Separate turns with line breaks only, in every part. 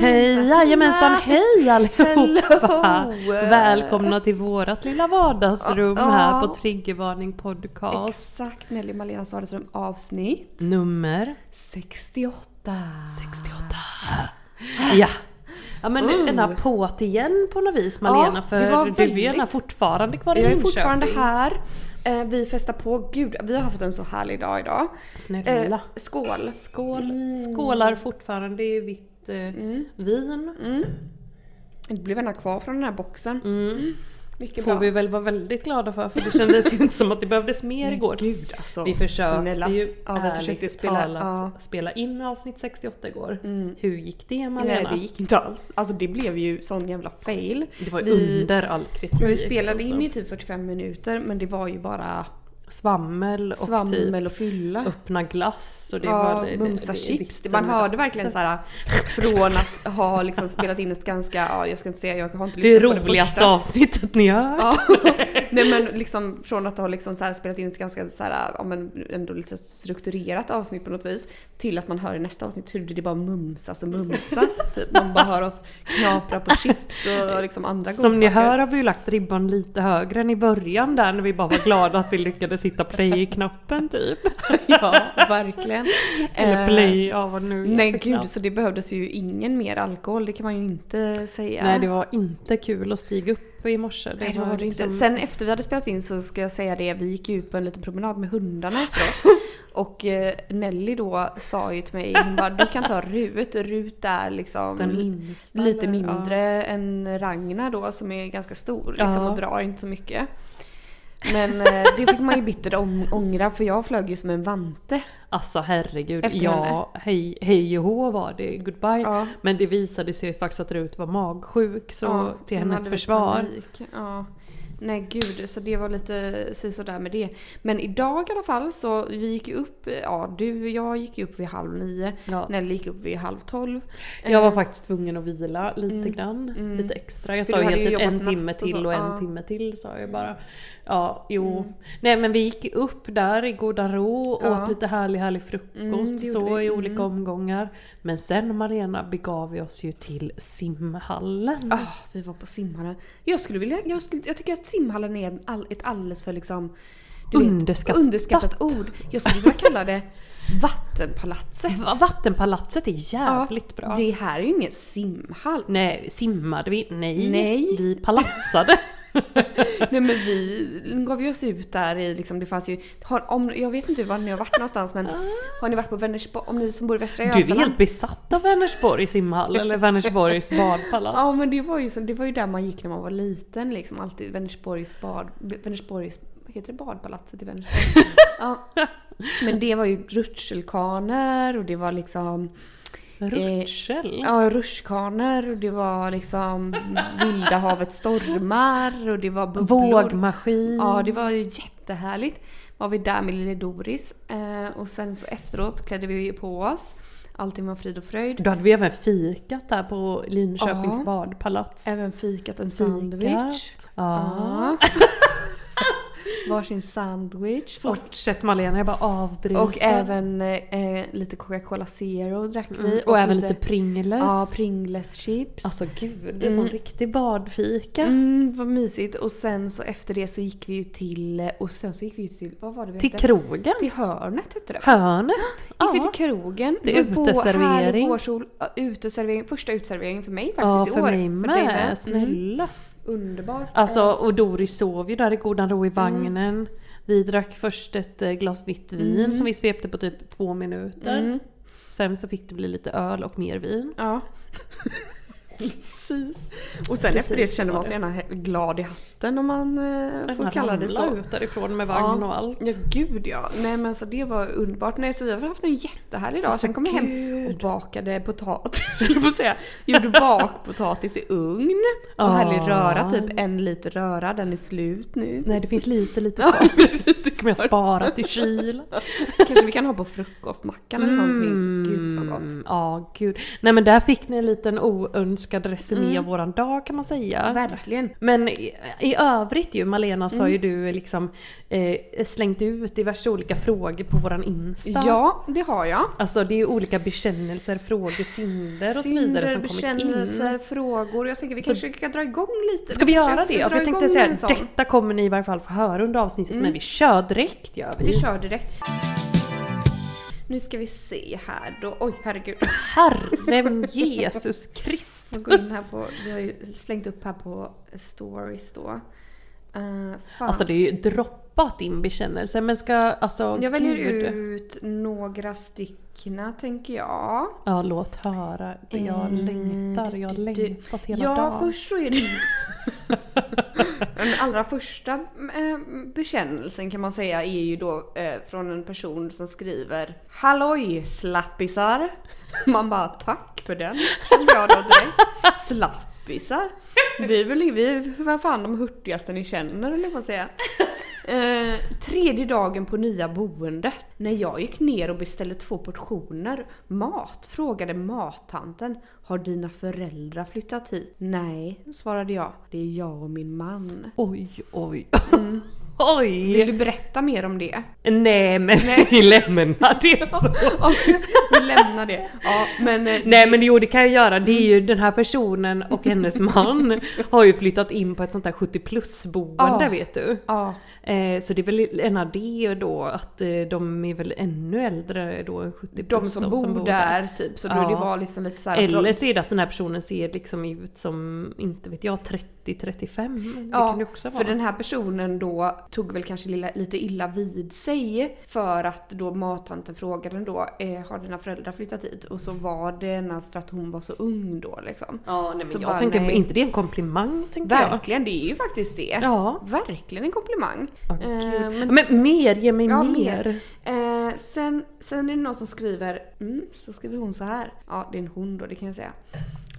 Hej jajamensan, hej allihopa!
Hello!
Välkomna till vårat lilla vardagsrum
Ja, ja.
här på Triggervarning podcast.
Exakt Nelly och Malenas vardagsrum avsnitt
Nummer
68.
68. Ja! Ja men
Oh.
den här på't igen på något vis Malena
Ja,
för
det var
du är ju
väldigt-
gärna fortfarande kvar i
Jag är
Linköping.
fortfarande här. Eh, vi festar på. Gud, vi har haft en så härlig dag idag.
Snälla.
Eh, skål!
Skål.
Eh,
Skålar fortfarande i vitt eh,
Mm.
vin.
Det blev ena kvar från den här boxen. Mycket
Mm. Får
bra.
vi väl vara väldigt glada för för det kändes ju inte som att det behövdes mer igår.
Gud alltså.
Vi försökte ju
Ja, vi försökte
ärligt
spela.
talat
Ja. Mm.
spela in avsnitt 68 igår. Hur gick det Malena?
Nej det gick inte alls. Alltså det blev ju sån jävla fail.
Det var ju
Vi-
under all kritik.
Men vi spelade in
alltså.
i typ 45 minuter men det var ju bara
svammel och
svammel och fylla.
typ öppna glass. Och det
Ja,
var det,
mumsa
det- det
chips.
visste
Man
vi.
hörde verkligen så här från att ha liksom spelat in ett ganska, ja jag ska inte säga, jag har inte
det
lyssnat på det
roligaste
första.
avsnittet ni har hört.
Ja. Nej men liksom från att ha liksom så här spelat in ett ganska så här, ja, men ändå lite strukturerat avsnitt på något vis till att man hör i nästa avsnitt hur det bara mumsas och mumsas. typ. Man bara hör oss knapra på chips och liksom andra
Som ni
godsaker.
hör har vi ju lagt ribban lite högre än i början där när vi bara var glada att vi lyckades hitta play-knappen typ.
Ja, verkligen.
Eller
Eh,
play, ja vad nu är det
Nej
för
gud,
knapp.
så det behövdes ju ingen mer alkohol, det kan man ju inte säga.
Nej det var inte kul att stiga upp i morse. Det
Nej, det var det inte.
liksom-
Sen efter vi hade spelat in så ska jag säga det, vi gick ju ut på en liten promenad med hundarna efteråt. Och eh, Nelly då sa ju till mig, hon bara du kan ta Rut, Rut är liksom
Den minsta,
lite
eller?
mindre än Ragnar då som är ganska stor liksom,
Ja.
och drar inte så mycket. Men eh, det fick man ju bittert om- ångra för jag flög ju som en vante.
Alltså herregud,
Efter henne.
ja hej, hej och hå var det, goodbye.
Ja.
Men det visade sig ju faktiskt att Rut var magsjuk så
Ja,
till
så hade
hennes
vi
försvar.
panik. Ja. Nej gud, så det var lite sisådär med det. Men idag i alla fall så vi gick ju upp, ja du jag gick ju upp vid halv nio.
Ja.
Nelly gick upp vid halv tolv.
Jag var faktiskt tvungen att vila lite grann, lite extra. Jag
Mm. För
sa
du
ju
hade ju
helt
jobbat
en timme
natt och så,
till och, en
ja. Mm.
timme till sa jag bara. Ja, jo. Nej men vi gick upp där i godan ro,
Ja.
åt lite härlig härlig frukost
Mm, det
så
gjorde vi.
i olika omgångar. Men sen Malena begav vi oss ju till simhallen.
Ah, vi var på simhallen. Jag skulle vilja, jag, skulle, jag tycker att simhallen är en all, ett alldeles för liksom du
Underskattat.
Vet, underskattat ord. Jag skulle vilja kalla det vattenpalatset.
Va- Vattenpalatset är jävligt bra.
Det här är ju ingen simhall.
Nej, simmade vi? Nej.
Nej.
Vi palatsade.
Nej men vi gav ju oss ut där i liksom, det fanns ju, har, om, jag vet inte var ni har varit någonstans men har ni varit på Vänersborg, om ni som bor i Västra
Du är
Götaland?
helt besatt av Vänersborgs simhall eller Vänersborgs badpalats.
Ja men det var, ju, så- det var ju där man gick när man var liten liksom, alltid Vänersborgs bad, Vänersborgs, heter det badpalatset i Vänersborg? ja. Men det var ju rutschkaner och det var liksom,
Rutschel.
ja rutschkaner och det var liksom vilda havets stormar och det var bubblor.
Vågmaskin.
Ja, det var ju jättehärligt. Var vi där med lille Doris eh, och sen så efteråt klädde vi ju på oss. Allting var frid och fröjd.
Då hade vi även fikat där på Linköpings
Ja.
badpalats.
Även fikat en sandwich.
Fikat. Ja.
Ja. Varsin sandwich. Och,
Fortsätt Malena, jag bara avbryter.
och även eh, lite Coca-Cola Zero drack vi.
Mm, och, även lite Pringles.
Ja, Pringles chips.
alltså gud, det är som riktig badfika.
Mm, vad mysigt. Och sen så efter det så gick vi ju till... Och sen så gick vi ju till... Vad var det vi
Till
hette?
krogen.
Till hörnet hette det.
Hörnet.
Gick vi
Ja.
till krogen.
Till
Det var
uteservering.
På, härlig vårsol, ja, uteservering. Första uteserveringen för mig faktiskt
Ja,
i
för
år.
mig med.
Mm.
Snälla.
Underbart.
Alltså och Doris sov ju där i godan ro i
Mm.
vagnen. Vi drack först ett eh, glas vitt vin
Mm.
som vi svepte på typ två minuter. Sen så fick det bli lite öl och mer vin.
Ja. Precis. Och sen
Precis,
efter det så kände man
var
sig
det.
gärna he- glad i hatten om man eh, får
Man
kalla det
ramlar
så.
ut därifrån med vagn
Ja.
och allt.
Ja gud ja. Nej men så det var underbart. Nej så vi har haft en jättehärlig dag.
Alltså,
Sen kom jag hem och
gud.
bakade potatis, eller på att säga. Gjorde bakpotatis i ugn. Och
Ja.
härlig röra, typ en liter röra. Den är slut nu.
Nej det finns lite lite
Ja,
kvar
precis.
som jag sparat i kylen.
Kanske vi kan ha på frukostmackan eller någonting.
Mm,
Gud vad gott.
Ja, gud. Nej men där fick ni en liten oönskad resumé
Mm.
av våran dag kan man säga.
Verkligen.
Men i, i övrigt ju, Malena, så har
Mm.
ju du liksom eh, slängt ut diverse olika frågor på våran Insta.
Ja, det har jag.
Alltså det är ju olika bekännelser, frågor, synder och så vidare
Synder,
som kommit in.
bekännelser, frågor. Jag tänker vi kanske kan dra igång lite.
Ska vi göra
känns-
det? För
dra
jag tänkte
igång
säga
en sån. Mm.
detta kommer ni i varje fall få höra under avsnittet men vi kör direkt gör vi.
Vi kör direkt. Nu ska vi se här då. Oj herregud.
Herre min Jesus Kristus.
Jag går in här på, vi har ju slängt upp här på stories då. Eh, fan.
Alltså det är ju droppat in bekännelser men ska alltså
jag väljer
gud.
ut några styckna tänker jag.
Ja låt höra. Jag
Eh,
längtar, jag har
du- du-
längtat hela
ja,
dagen.
först så är det Den allra första eh, bekännelsen kan man säga är ju då eh, från en person som skriver Halloj slappisar! Man bara tack för den kände jag då direkt. Slappisar! Alltså, Vi är väl vi är vad fan de hurtigaste ni känner eller vad säga. Eh, tredje dagen på nya boendet. När jag gick ner och beställde två portioner mat frågade mattanten Har dina föräldrar flyttat hit? Nej, svarade jag. Det är jag och min man.
Oj oj.
Mm.
oj!
Vill du berätta mer om det?
Nej men vi lämnar det så.
Ja, Vi lämnar det. Ja, men eh,
Nej men jo det kan jag göra, det är ju
Mm.
den här personen och hennes man har ju flyttat in på ett sånt där 70 plus boende
Ja.
vet du.
ja,
Eh, så det är väl en av det då att eh, de är väl ännu äldre då än 70 plus.
de som bor där typ. Så då
Ja.
det var liksom lite såhär...
Eller så är det att den här personen ser liksom ut som, inte vet jag, 30-35. Det kan det också vara.
för den här personen då tog väl kanske lilla, lite illa vid sig för att då mattanten frågade då eh, har dina föräldrar flyttat hit? Och så var det hennes för att hon var så ung då liksom.
Ja, nej, men
Så
jag
bara,
tänker,
nej.
inte det är en komplimang tänker
Verkligen, det är ju faktiskt det.
jag. Ja.
Verkligen en komplimang.
Åh,
Eh,
gud.
men-
men, mer, ge mig
Ja,
mer.
mer. Eh, sen, sen är det någon som skriver, mm, så skriver hon så här. Ja, det är en hon då, det kan jag säga.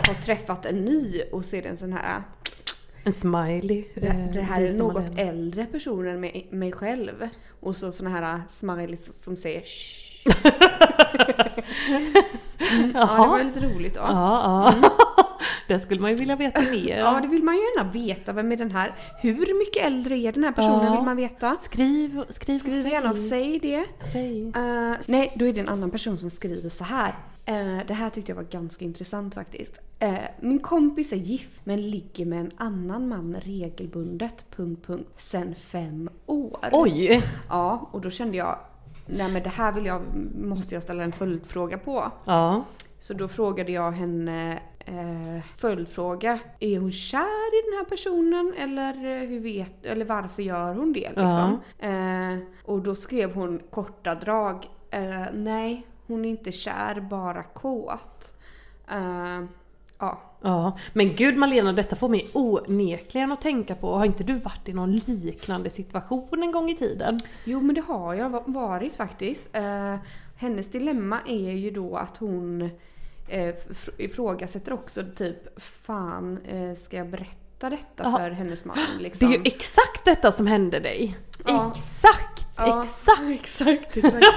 Har träffat en ny och ser en sån här.
En smiley.
Det,
eh,
det här är
visar man
något
en.
äldre person än mig, mig själv. Och så såna här eh, smileys som säger "Shh." mm, Ja, det
Jaha.
var ju lite roligt då. Ja.
Ja, ja. Det skulle man ju vilja veta mer.
Mm. det vill man ju gärna veta. Vem är den här? Hur mycket äldre är den här personen
Ja.
vill man veta?
Skriv, skriv,
Skriv gärna och säg det.
Säg.
Eh, nej, då är det en annan person som skriver så här. Eh, det här tyckte jag var ganska intressant faktiskt. Eh, min kompis är gift men ligger med en annan man regelbundet... Punkt, punkt, sen fem år.
Oj!
Ja, och då kände jag... Nej men det här vill jag, måste jag ställa en följdfråga på.
Ja.
Så då frågade jag henne eh, följdfråga. Är hon kär i den här personen eller eh, hur vet, eller varför gör hon det liksom? Eh, och då skrev hon korta drag. Eh, nej, hon är inte kär, bara kåt. Eh, ja.
Ja, men gud Malena detta får mig onekligen att tänka på, har inte du varit i någon liknande situation en gång i tiden?
Jo men det har jag va- varit faktiskt. Eh, hennes dilemma är ju då att hon eh, fr- ifrågasätter också typ fan eh, ska jag berätta detta
Jaha.
för hennes man
Det
liksom?
är ju exakt detta som hände dig!
Ja.
Exakt!
Ja,
Exakt!
exakt, exakt.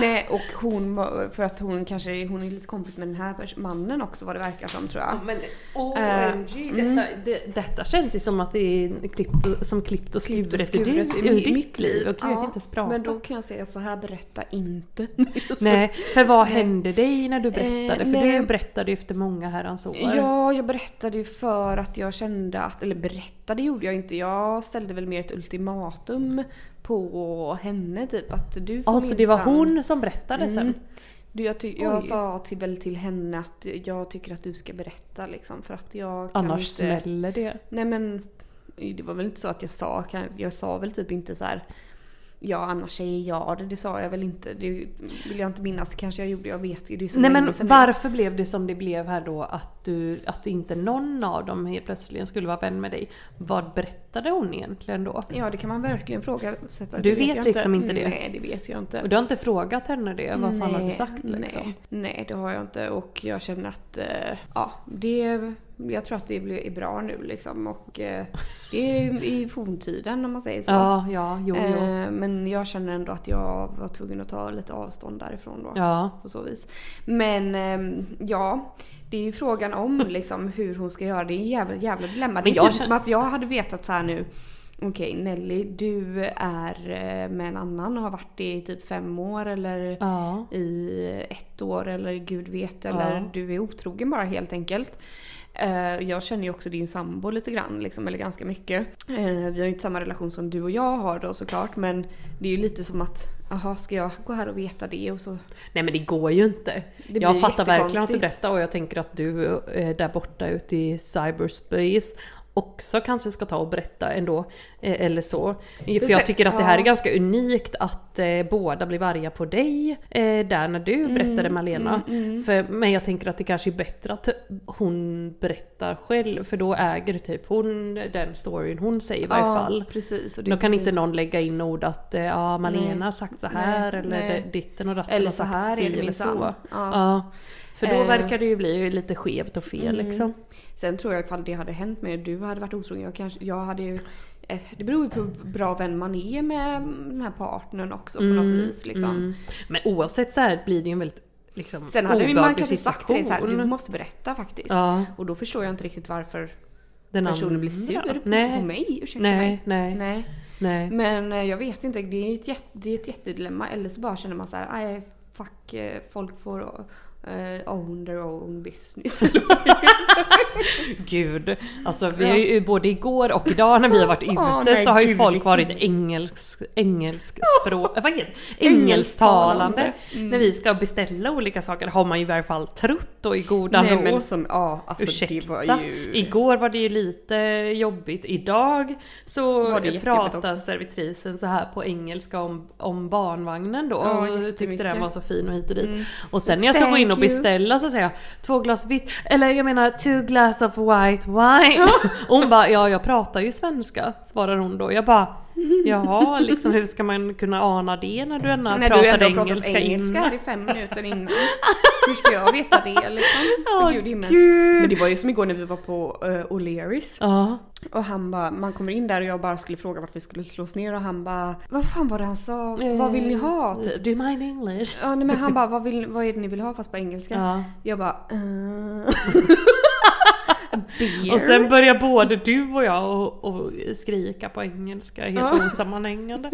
Nej och hon var- för att hon kanske hon är lite kompis med den här pers- mannen också vad det verkar som tror jag.
Men
OMG,
detta, det, detta känns ju som att det är klippt, som klippt och skuret,
Klippt och
ur,
skuret
ditt-
i
ur
mi-
ditt liv. Och gud, jag
Ja,
kan inte ens prata.
Men då kan jag säga så här berätta inte.
Nej, för vad
Nej.
hände dig när du berättade?
Eh,
för
nej.
du berättade ju efter många herrans år.
Ja, jag berättade ju för att jag kände att, eller berättade gjorde jag inte, jag ställde väl mer ett ultimatum på henne typ att du får
Ja, så Alltså, det var
minsann- Mm.
hon som berättade sen?
Du, jag, ty- jag
Oj.
sa till, väl till henne att jag tycker att du ska berätta liksom för att jag kan
Annars
inte...
smäller det.
Nej men det var väl inte så att jag sa, kan- jag sa väl typ inte så här. Ja, annars säger jag det. Det sa jag väl inte. Det vill jag inte minnas. Kanske jag gjorde, jag vet ju. Det är så
Nej
länge
men
sedan nu.
varför blev det som det blev här då att, du, att inte någon av dem helt plötsligen skulle vara vän med dig? Vad berättade hon egentligen då?
Ja, det kan man verkligen fråga. Sätta.
Du
Det
vet
jag
liksom inte det.
Nej, det vet jag inte.
Och du har inte frågat henne det? Vad fan har du
Nej,
sagt liksom?
Nej, nej, det har jag inte och jag känner att eh, ja, det, jag tror att det blir är bra nu liksom och eh, det är i forntiden om man säger så.
Ja, ja, jo, jo.
Eh, men jag känner ändå att jag var tvungen att ta lite avstånd därifrån då.
Ja.
På så vis. Men ehm, ja, det är ju frågan om liksom, hur hon ska göra. Det är ett jävla, jävla dilemma. Det är
Men jag
typ
känner-
som att jag hade vetat så här nu. Okej Nelly, du är eh, med en annan och har varit det i typ fem år eller
Ja.
i ett år eller gud vet eller
Ja.
du är otrogen bara helt enkelt. Eh, Jag känner ju också din sambo lite grann, liksom, eller ganska mycket. Eh, Vi har ju inte samma relation som du och jag har då såklart men det är ju lite som att, jaha ska jag gå här och veta det och så.
Nej men det går ju inte.
Det blir
jag fattar verkligen att du
jättekonstigt.
berättar och jag tänker att du eh, där borta ute i cyberspace också kanske ska ta och berätta ändå. eh, Eller så. För jag
så-
tycker att det här är
ja.
ganska unikt att eh, båda blir varga på dig eh, där när
Mm,
du berättade Malena. För, men jag tänker att det kanske är bättre att hon berättar själv för då äger typ hon den storyn hon säger i varje fall.
precis. Och det
Då kan
blir-
inte någon lägga in ord att eh, ja, Malena har sagt så här
Nej,
eller
nej.
det- ditten och datten
Eller
har
så
sagt
här
si
är det
eller
minsann.
så.
Ja.
Ja. För då
Eh. Mm,
verkar det ju bli lite skevt och fel liksom.
Sen tror jag ifall det hade hänt mig och du hade varit otrogen, jag kanske, jag hade ju eh, det beror ju på hur bra vän man är med den här partnern också på något vis. Liksom.
Mm. Men oavsett så här blir det ju en väldigt liksom,
Sen hade man
obehaglig
kanske sagt till dig så här,
situation.
du måste berätta faktiskt.
Ja,
Och då förstår jag inte riktigt varför
den
personen blir
andra.
sur på,
nej,
på mig. Ursäkta
Nej,
mig.
nej, nej.
Nej. Men eh, jag vet inte, det är ett, jätte, det är ett jättedilemma. Eller så bara känner man så här, "Aj, fuck, eh, folk får eh, own their own business.
typ Gud. Alltså vi har ju både igår och idag när vi har varit ute
Åh, nej,
så har ju
gud.
folk varit engelsk, engelsk språk, vad heter det?
Engelsktalande. Mm.
Engelsktalande. När vi ska beställa olika saker har man ju i varje fall trott och i godan
Nej
ro.
men som, ja alltså det
Ursäkta.
var ju...
Igår var det ju lite jobbigt. Idag så
Var det jättejobbigt
pratade
också.
servitrisen så här på engelska om, om barnvagnen då.
Ja,
och tyckte
jättemycket. Mm.
den var så fin och hit och dit. Och sen när jag ska gå
Thank
in och
you.
beställa så säger jag två glas vitt, eller jag menar two glass of white wine. och hon bara ja jag pratar ju svenska svarar hon då. Jag bara jaha liksom hur ska man kunna ana det när du ändå
När
pratade
du ändå har pratat
engelska,
engelska,
engelska
här i fem minuter innan. Hur ska jag veta det liksom? För
Åh,
gud i himmel.
gud.
Men det var ju som igår när vi var på eh, O'Learys.
Ja.
Och han bara, man kommer in där och jag bara skulle fråga vart vi skulle slås ner och han bara Vad fan var det han sa? Vad vill ni ha?
Eh,
Typ.
Do you mind English?
Ja nej, men han bara, vad, vill, vad är det ni vill ha fast på engelska?
Ja.
Jag bara, eh. Beer?
Och sen börjar både du och jag och, och skrika på engelska helt osammanhängande.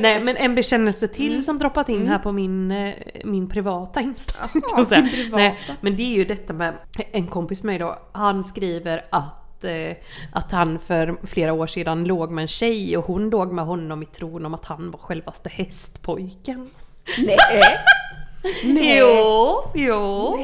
Nej men en bekännelse till
Mm.
som droppat in här på min, eh, min privata Insta. tänkte jag säga.
din privata.
Nej, men det är ju detta med en kompis med mig då, han skriver att eh, att han för flera år sedan låg med en tjej och hon låg med honom i tron om att han var självaste hästpojken.
Nej! nej.
Jo, jo.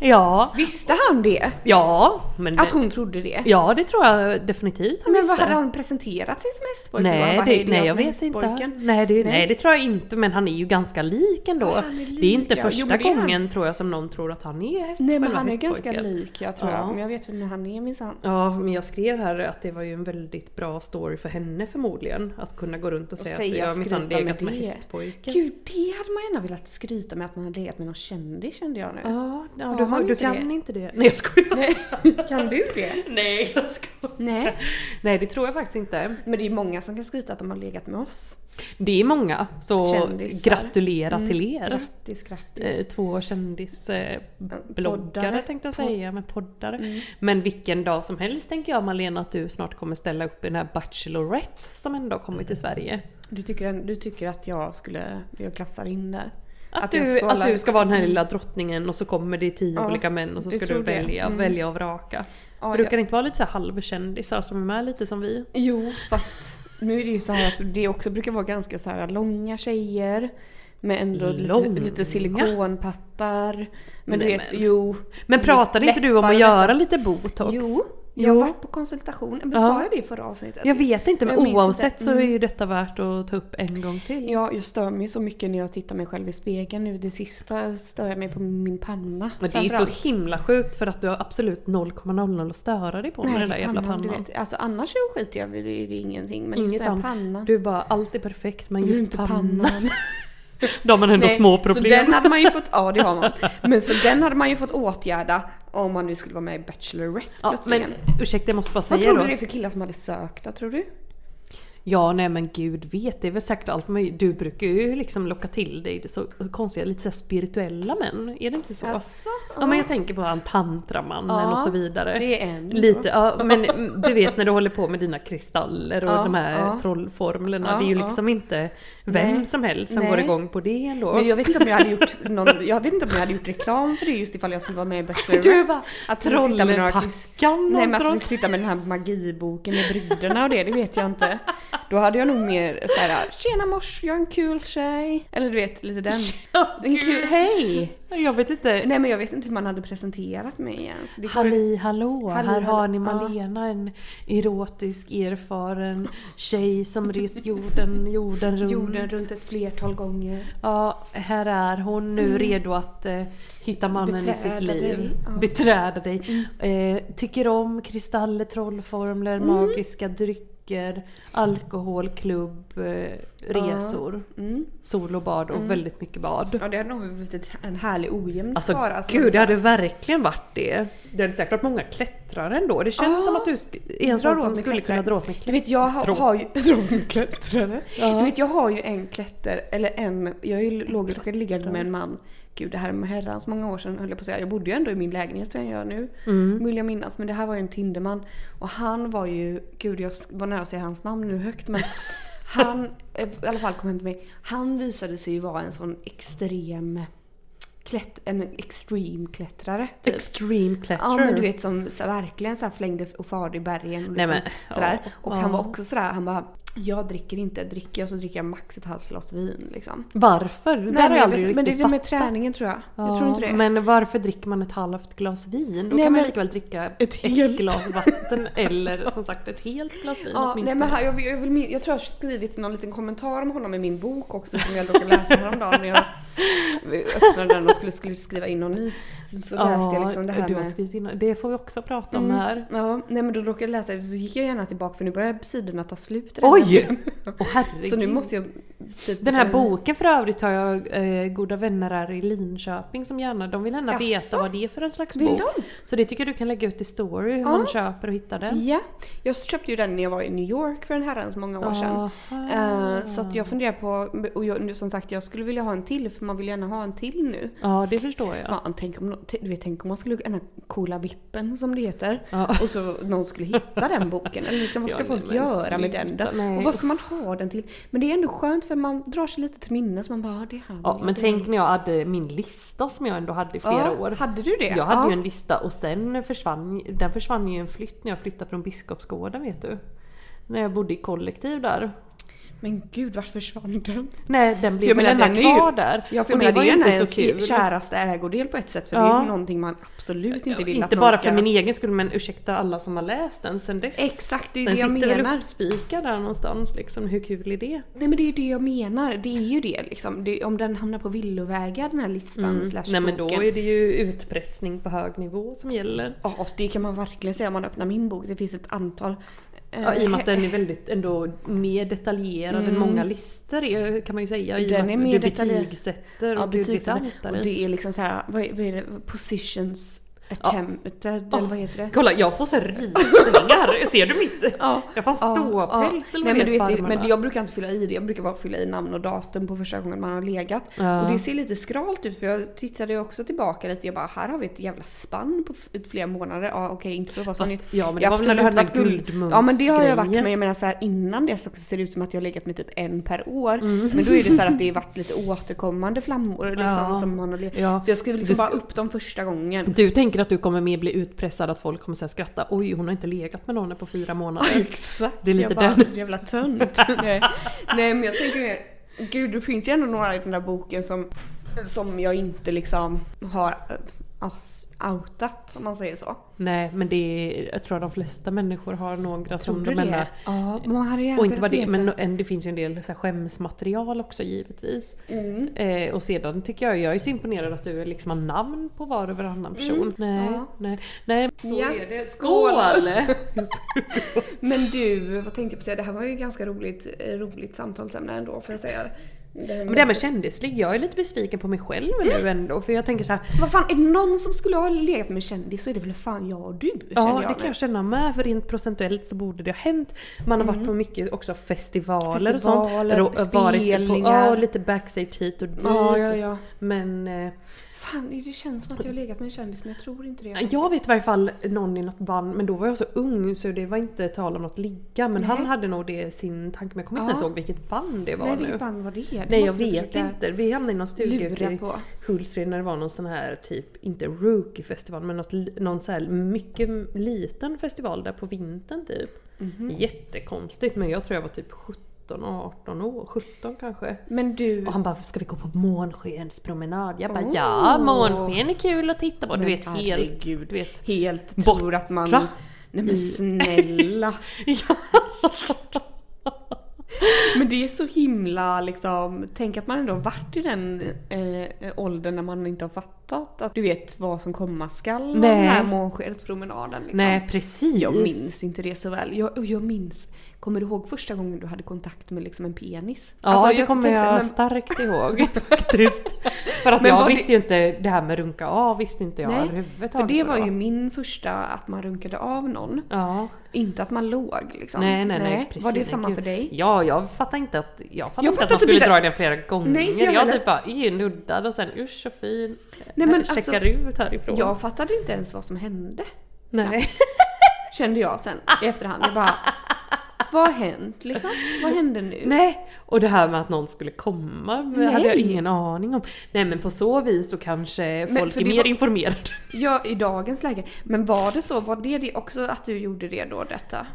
Ja,
Visste han det?
ja. Men
Att
det,
hon trodde det?
ja det tror jag definitivt han
Men vad
visste.
hade han presenterat sig som hästpojke? Och han
Nej,
bara, "Hej,
det,
är
nej jag
som
vet inte.
hästpojken."
Nej det, nej.
Nej.
det tror jag inte men han är ju ganska lik ändå.
Ah, han är
Det är inte
lik, ja. Jo,
första
men det är han.
gången tror jag som någon tror att han är häst,
Nej men
själva
han är ganska
hästpojken.
lik jag tror
Ja.
jag. Men jag vet vem han är minsann.
Ja men jag skrev här att det var ju en väldigt bra story för henne förmodligen. Att kunna gå runt och säga,
säga,
att jag minsann
skryta med
legat med
det.
hästpojken.
Gud det hade man gärna velat skryta med att man hade legat med någon kändis kände jag nu.
Ja, ja du,
Har man
har, du
inte
kan
det?
inte det. Nej jag skojar.
Nej, kan du det?
Nej jag skojar.
Nej.
Nej det tror jag faktiskt inte.
Men det är många som kan skryta att de har legat med oss.
Det är många så
Kändisar. Mm.
gratulera till er.
Grattis, grattis.
Eh, två kändisbloggare
poddare. Mm.
tänkte jag säga, men poddare. Men vilken dag som helst tänker jag Malena att du snart kommer ställa upp i den här Bachelorette som ändå har kommit till Sverige.
Du, tycker, du tycker att jag skulle, jag klassar in där.
Att,
jag
du,
skålar.
att du ska vara den här lilla drottningen och så kommer det tio
Ja,
olika män och så
du
ska du
tror det.
välja,
Mm.
välja och vraka.
Ja,
Brukar
jag-
det inte vara lite så här halvkändisar som är med lite som vi?
Jo, fast nu är det ju så här att det också brukar vara ganska så här långa tjejer. Med ändå lite,
Långa?
lite silikonpattar. Men du
Nej,
vet,
men.
jo.
Men pratade inte du om
läppar
att
och
göra lite botox?
Jo, Jag har varit på konsultation. Men
Ja.
Sa jag det i förra avsnittet?
Jag vet inte men
Jag minns
oavsett
inte. Mm.
så är ju detta värt att ta upp en gång till.
Ja, jag stör mig så mycket när jag tittar mig själv i spegeln nu. Det sista stör jag mig på min panna.
Men det är ju så
framförallt.
himla sjukt för att du har absolut 0,00 att störa dig på med
Nej,
den där jävla
pannan, du
pannan.
vet. Alltså annars så skiter jag väl i det är ingenting. Men just
Inget
den här
annat.
pannan.
Du bara, allt är perfekt men just
Inte
pannan. Då har man ändå
Nej,
små
Så
problem.
den hade man ju fått, ja det har man. Men så den hade man ju fått åtgärda om man nu skulle vara med i Bachelorette
Ja, men
plötsligen.
ursäkta jag måste bara
Vad
säga
tror
då.
du det är för killar som hade sökt då, tror du?
Ja nej men gud vet, det är väl säkert allt möjligt. Du brukar ju liksom locka till dig det så konstiga, lite så här spirituella män. Är det inte så? Ja men jag tänker på han tantramannen
Ja,
och så vidare.
det är en.
Lite, ja men mm, du vet när du håller på med dina kristaller och
Ja,
de här
ja.
trollformlerna.
Ja,
det är ju
ja.
liksom inte vem
Nej.
som helst som
Nej.
går igång på det ändå.
Men jag vet inte om jag hade gjort någon, jag vet inte om jag hade gjort reklam för det just ifall jag skulle vara med i Bachelorette.
Du bara
Att sitta med några kris-
trollpackan
Nej
och
men alltså, att
troll-
du ska sitta med den här magiboken i brydderna och det, det vet jag inte. Då hade jag nog mer såhär “Tjena mors, jag är en kul tjej”. Eller du vet, lite den. En kul, hej!
Jag vet inte.
Nej men jag vet inte hur man hade presenterat mig ens. Det går-
Halli hallå,
Halli,
här har
hallå,
ni
ja.
Malena, en erotisk erfaren tjej som rest jorden, jorden runt.
Jorden runt ett flertal gånger.
Ja, här är hon nu redo att eh, hitta mannen i
Mm. Beträda
sitt liv.
dig, ja. Mm.
Beträda dig. Eh, tycker om kristaller, trollformler, magiska drycker, alkohol, klubb, eh, resor.
Mm.
Sol och bad och väldigt mycket bad.
Ja det hade nog blivit ett- en härlig ojämn
Alltså
skara. som
gud, det
sa.
hade verkligen varit det. Det hade säkert varit många klättrare ändå. Det känns
Ja.
som att du är en
Dra
sån
åt
som
med
skulle
klättrare.
kunna dra åt mig
Du vet jag har,
Drog.
har ju... Drogklättrare?
Ja.
Du vet jag har ju en klätter, eller en... Jag är ju låg, råkade ligga med en man. Gud det här är med herrans många år sedan höll jag på att säga. Jag bodde ju ändå i min lägenhet som jag gör nu. Vill jag minnas. Men det här var ju en Tinderman. Och han var ju... Gud jag var nära att säga hans namn nu högt men... Han, eh, i alla fall kom hem till mig. Han visade sig ju vara en sån extrem... Klätt, en extreme klättrare. typ.
Extreme
Ja
klättrare.
men du vet som så, verkligen så här flängde och farde i bergen. Och,
Nej,
liksom,
men,
sådär.
ja,
och
ja.
han var också sådär, han bara jag dricker inte, dricker jag så dricker jag max ett halvt glas vin liksom.
Varför? Det där
Nej,
har jag
vet-
aldrig
men det är
riktigt
det med
fattat.
träningen tror jag. Jag tror inte det.
Ja, Men varför dricker man ett halvt glas vin? Då
Nej,
kan man
men-
lika väl dricka
Ett
ett,
helt.
glas vatten eller som sagt ett helt glas vin
Ja, nej,
åtminstone.
men här, jag, vill- jag, vill, min- jag tror jag har skrivit någon liten kommentar om honom i min bok också som jag råkade läsa häromdagen när jag öppnade den och skulle, skulle skriva in någon ny. Så läste jag liksom det här
du har
med... Mm.
skrivit in, det får vi också prata om här.
Ja, nej men då råkade jag läsa det så gick jag gärna tillbaka för nu börjar sidorna ta slut. redan.
Oj! Åh herregud.
Så nu måste jag... typ
Den här
beställa-
boken för övrigt har jag eh, goda vänner här i Linköping som gärna, de vill gärna
Jaså?
veta vad det är för en slags
Vill
bok.
de?
Så det tycker jag du kan lägga ut i story hur
Ja.
man köper och hittar den.
Ja, jag köpte ju den när jag var i New York för en herrans många år sedan.
Ah. Aha.
Eh, så att jag funderar på, och jag, nu som sagt jag skulle vilja ha en till för man vill gärna ha en till nu.
Ja det förstår jag.
Fan, tänk om, nå- t- du vet, tänk om man skulle, den här coola vippen som det heter,
Ja.
och så någon skulle hitta den boken. Eller liksom, vad ska
Ja,
folk
men
göra med
sluta,
den då?
nej.
Och vad ska man ha den till? Men det är ändå skönt för man drar sig lite till minnes, man bara, ah, det är han.
Ja, men
det är
tänk när jag hade min lista som jag ändå hade i flera
Ja,
år.
hade du det?
Jag hade
Ja.
ju en lista och sen försvann, den försvann ju i en flytt när jag flyttade från Biskopsgården vet du. När jag bodde i kollektiv där.
han." Men gud, varför försvann den?
Nej den blev
Jag
väl
menar,
ändå
den är ju-
kvar där.
Ja, för
och det
jag menar,
var ju
det är
inte
ju
så
ens
kul.
käraste ägodel på ett sätt för det är
Ja.
ju någonting man absolut inte vill att
Inte
någon
bara
ska...
för min egen skull men ursäkta alla som har läst den sen dess.
Exakt, det är
den
det jag
sitter
menar.
väl uppspikad där någonstans liksom, hur kul är det?
Nej men det är ju det jag menar, det är ju det liksom. Det, om den hamnar på villovägar den här listan slash
Mm. Nej men då
boken.
är det ju utpressning på hög nivå som gäller.
Ja, det kan man verkligen säga om man öppnar min bok. Det finns ett antal... eh, Mm.
Ja, I och med att den är väldigt ändå mer detaljerad än många listor är, kan man ju säga. I och
Den
med
är
att
mer
du
detaljerad.
betygsätter och
ja,
du vet
betygsättning.
allt där
Och
i.
det är liksom så här, vad, är- vad är det? Positions attempted, eller vad heter det?
Kolla jag får så här rysningar, ser du mitt?
Ja,
Jag får en
ja,
ståpäls eller
Nej,
vad
men,
det
du
heter på
vet, det- men
armarna.
jag brukar inte fylla i det. Jag brukar bara fylla i namn och datum på första gången man har legat.
Ja.
Och det ser lite skralt ut för jag tittade ju också tillbaka lite. Jag bara, här har vi ett jävla spann på f- flera månader. Ja okej, inte för att vara sån.
Fast, ja men det
Jag
var
har
väl när du
absolut
hade den här
varit guld- Ja men det har jag varit
guldmumsgrejen.
men jag menar så här innan det så ser det ut som att jag har legat med typ en per år.
Mm.
Men då är det så här att det har varit lite återkommande flammor liksom,
Ja.
som man har legat.
Ja.
Så jag skriver liksom
Du
bara
sk-
upp dem första gången.
Du tänker att du kommer mer bli utpressad, att folk kommer säga skratta oj hon har inte legat med någon på fyra månader.
Exakt!
Det är lite
jag bara,
den.
Jävla tönt. Nej. Nej men jag tänker mer, gud det finns ju ändå några i den där boken som, som jag inte liksom har äh, ja, outat om man säger så.
Nej men det är, jag tror att de flesta människor har några som de ändå...
Ja, man hade gärna
eh, Och inte vad
velat
det,
veta.
men en- det finns ju en del så här skämsmaterial också givetvis.
Mm.
Eh, och sedan tycker jag, jag är så imponerad att du liksom har namn på var och varannan person. Nej,
Mm, Ja.
nej, nej. Så
Ja,
är det.
skål!
Skål!
Men du, vad tänkte jag på att säga? Det här var ju ganska roligt, eh, roligt samtalsämne ändå får jag säga. Det här
Men det här med kändislig, jag är lite besviken på mig själv nu ändå för jag tänker så här,
Vad fan, är Mm. det någon som skulle ha legat med kändis så är det väl fan jag och du
ja
känner jag
det kan
nu.
jag känna med för rent procentuellt så borde det ha hänt. Man har varit på mycket också festivaler, och sånt.
Mm. Festivaler,
Ro- varit på,
spelningar.
ja, lite backstage hit och dit.
Ja, ja, ja.
Men eh,
Fan, det känns som att jag har legat med en kändis men jag tror inte det.
Jag vet i varje fall någon i något band, men då var jag så ung så det var inte tal om något ligga. Men han hade nog det i sin tanke, men jag kommer
Ja.
inte ens ihåg vilket band det var
Nej,
nu.
vilket band var det? det?
Nej jag
måste
vet
försöka-
inte. Vi hamnade i någon stuga
lura
ute i
på.
Hultsfred när det var någon sån här typ, inte rookie-festival men något, li- någon så här mycket liten festival där på vintern typ.
Mhm.
Jättekonstigt men jag tror jag var typ 17, 18 år, 17 kanske.
Men du,
Och han bara, ska vi gå på månskenspromenad? Jag bara,
Oh.
ja månsken är kul att titta på. Du
Men
vet helt...
herregud.
Du vet.
helt
Borta.
tror att man... Nej men snälla!
Ja.
Men det är så himla liksom, tänk att man ändå har varit i den eh, eh, åldern när man inte har fattat att du vet vad som komma skall och
Nej.
den här månskenspromenaden liksom.
Nej precis.
Jag minns inte det så väl. Jag, och jag minns, kommer du ihåg första gången du hade kontakt med liksom en penis?
Ja
Alltså,
det kommer
tänkte så
jag
här,
starkt ihåg faktiskt. För att
Men
jag
var det-
visste ju inte det här med runka av visste inte jag
Nej,
överhuvudtaget.
För det
vad
var ju min första, att man runkade av någon.
Ja,
Inte att man låg liksom.
nej nej nej. precis.
Var det
Nej,
samma
gud.
för dig?
Ja, jag fattar inte att, jag fattar
Jag
inte att
fattar
de
typ
skulle
inte-
dra i den flera gånger.
Nej, inte jag
jag
heller.
typ bara "Ej, nuddad och sen usch så fin.
Nej, men
Checkar
alltså-
ut härifrån.
Jag fattade inte ens vad som hände.
nej.
Kände jag sen i efterhand. Jag bara, vad har hänt liksom? Vad hände nu?
Nej, och det här med att någon skulle komma
Nej.
hade jag ingen aning om. Nej men på så vis så kanske
Men
folk
för
är
det
mer
var-
informerade.
Ja, i dagens läge. Men var det så? Var det, det också att du gjorde det då, detta?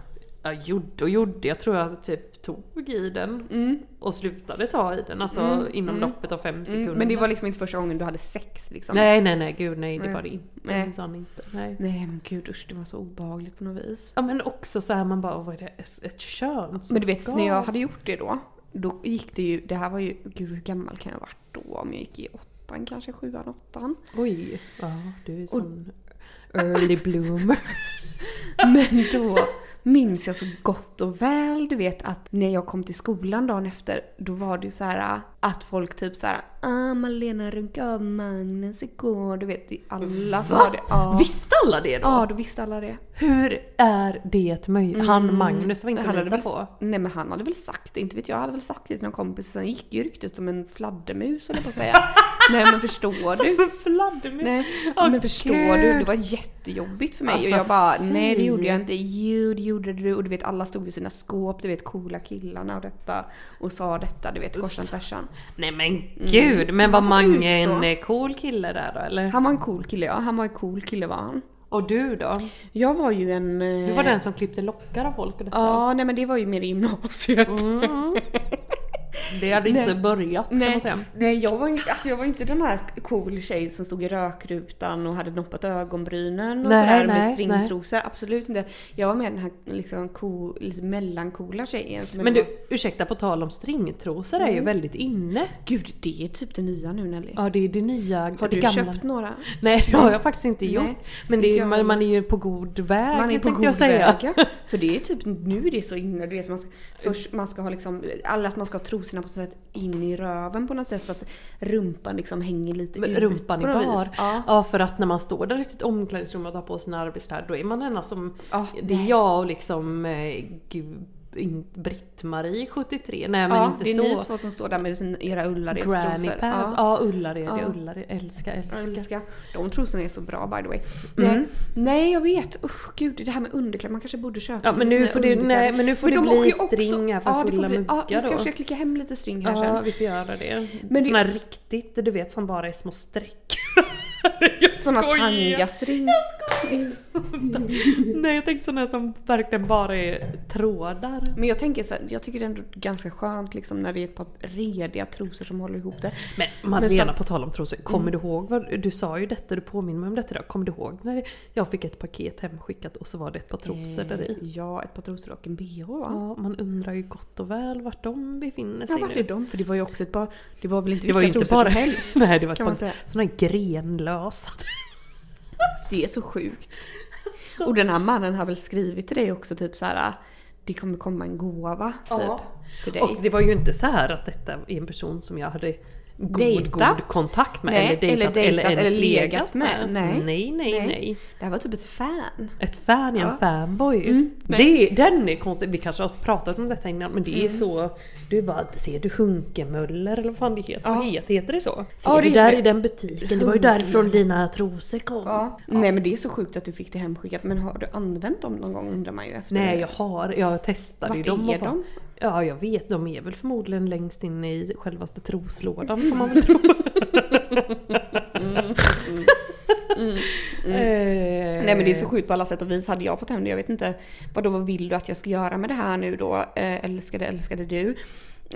Ja, gjorde och gjorde. Jag tror jag typ tog i den
Mm.
och slutade ta i den. Alltså inom loppet av fem sekunder.
Men det var liksom inte första gången du hade sex liksom?
Nej, nej, nej, gud nej, det var det inte.
Nej.
Minsann inte. Nej.
Nej men gud usch, det var så obehagligt på något vis.
Ja men också så här man bara, vad är det? Ett- Ett könsorgan?
Men du vet, när jag hade gjort det då, då gick det ju, det här var ju, gud hur gammal kan jag ha varit då? Om jag gick i åttan kanske, sjuan, åttan.
Oj, ja du är sån early bloomer.
Men då minns jag så gott och väl, du vet att när jag kom till skolan dagen efter, då var det ju så här att folk typ så här, ah Malena runkade av Magnus igår, du vet, alla sa det. Ja.
Visste alla det då?
ja, Mm. då visste alla det.
Hur är det möjligt? Han Magnus var inte att lita
väl,
på.
Nej men han hade väl sagt det, inte vet jag, han hade väl sagt det till någon kompis, sen gick ju ryktet som en fladdermus eller på att säga. nej men förstår du?
Som en fladdermus.
Nej,
Åh,
men förstår du? Det var jättejobbigt för mig
Alltså,
och jag bara nej det
fy.
gjorde jag inte. Jo det gjorde du och du vet alla stod vid sina skåp, du vet coola killarna och detta och sa detta, du vet korsan tvärsan.
Nej men
Mm.
gud, men var
får
Mange
utstå.
en eh, cool kille där då eller?
Han var en cool kille ja, han var en cool kille var han.
Och du då?
Jag var ju en... eh,
Du var den som klippte lockar av folk och detta?
Ja nej men det var ju mer i gymnasiet.
Mm. Det hade inte börjat kan man
Nej,
säga.
nej jag, var inte, alltså jag var inte den här cool tjej som stod i rökrutan och hade noppat ögonbrynen och
Nej,
sådär
nej,
med stringtrosor. Absolut inte. Jag var mer den här liksom, cool, lite mellancoola tjejen. Som
Men
ändå-
du, ursäkta på tal om stringtrosor är ju väldigt inne.
Gud, det är typ Mm. det nya nu Nelly.
Ja det är det nya,
Har
det
du
gamla.
köpt några?
Nej det har jag faktiskt inte
Nej,
gjort. Men det
inte
är,
jag
man, man är ju på god väg
Man är på
tänkte
god
jag säga.
väg. ja. För det är typ, nu är det så inne, du vet man ska, först man ska ha liksom, alla att man ska ha trosorna på något sätt in i röven på något sätt så att rumpan liksom hänger lite
Men
ut.
rumpan i
på något
bar.
vis.
Ja.
Ja.
för att när man står där i sitt omklädningsrum och tar på sina arbetskläder då är man denna som,
Ja,
det är jag och liksom eh, gud, in- Britt-Marie 73, nej men
ja,
inte
det är
så.
ni två som står där med sina, era Ullareds
Granny
trosor.
pants,
Ja.
ja Ullared, ja.
Ja.
Ullared, älska,
Jag
älska.
älskar. De trosorna är så bra by the way.
Mm.
Nej, nej jag vet. Usch gud, det här med underkläder. Man kanske borde köpa
Ja, men
lite
nu
mer
får det-
underkläder.
nej, men nu får det
de
bli
åker ju också-
string här för
ja, det får
fulla
bli- Ja, vi
muggar
ska
då.
försöka klicka hem lite string här
Ja
sen.
vi får göra det.
Men
Men
det-
Såna här riktigt, du vet som bara är små streck. jag
Såna
skojar!
tangastring.
Nej jag tänkte såna som verkligen bara är trådar.
Men jag tänker så här, jag tycker det är ändå ganska skönt liksom när det är ett par rediga trosor som håller ihop det.
Men Madeleine
Men Mm.
på tal om trosor, kommer du ihåg vad du sa ju detta, du påminner mig om detta idag. Kommer du ihåg när jag fick ett paket hemskickat och så var det ett par trosor där i?
Eh, Ja, ett par trosor och en bh va?
Ja, man undrar ju gott och väl vart de befinner sig
Ja, vart
nu.
är de? För det var ju också ett par, det var väl inte
Det var ju
vilka
inte
trosor
bara
som helst.
Nej, det var ett
kan man
par
säga.
sådana här grenlösa.
Det är så sjukt. Och den här mannen har väl skrivit till dig också typ så här. Det kommer komma en gåva typ,
Ja.
till dig.
Och det var ju inte så här att detta är en person som jag hade god,
Dejtat.
god kontakt med.
Nej,
eller dejtat
eller
eller,
dejtat,
ens
eller legat
legat,
med.
med. Mm. Nej,
Nej.
nej,
Nej.
nej,
Det här var typ ett fan.
Ett fan är en
Ja.
fanboy.
Mm,
det, den är konstig. Vi kanske har pratat om detta innan men det
Mm.
är så... Du bara, ser du Hunkemöller eller vad fan det heter?
Ja.
Vad heter, heter det så? Ser
Ja, det
du där
heter-
i den butiken? Det var ju därifrån dina trosor kom.
Nej men det är så sjukt att du fick det hemskickat. Men har du använt dem någon gång undrar man ju efter.
Nej jag har, jag testade ju
Vart
dem.
är
och bara-
de?
Ja jag vet, de är väl förmodligen längst in i självaste troslådan får man väl tro.
Mm,
Eh,
Nej men det är så sjukt på alla sätt och vis. Hade jag fått hem det, jag vet inte vad då vad vill du att jag ska göra med det här nu då? Eh, älskade, älskade du?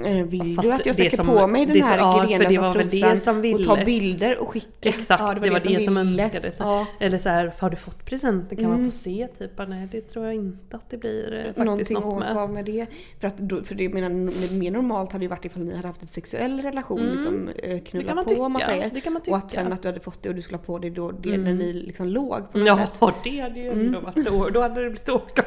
Eh, vill
Fast
du att jag
det
sätter
som-
på mig den
det som-
här
ja, för det
grenlösa
var väl det
trosan
som
och ta
villes.
bilder och skicka?
Exakt,
Ja,
det var det, som,
villes.
önskades.
Ja. Mm.
Eller så här, har du fått presenten? Kan man få se? Typ, bara, nej det tror jag inte att det blir eh, faktiskt
Någonting
något med.
åka med det. För, att, då- för det jag menar, no- mer normalt hade ju varit ifall ni hade haft en sexuell relation. Liksom, eh,
Mm. Det kan
knulla
man
på om man
tycka.
säger.
Det kan man
Och att sen
tycka. Mm.
att du hade fått det och du skulle ha på dig då, det när ni liksom låg på något
Ja,
sätt. Mm.
det hade ju ändå varit då. Då hade det blivit åka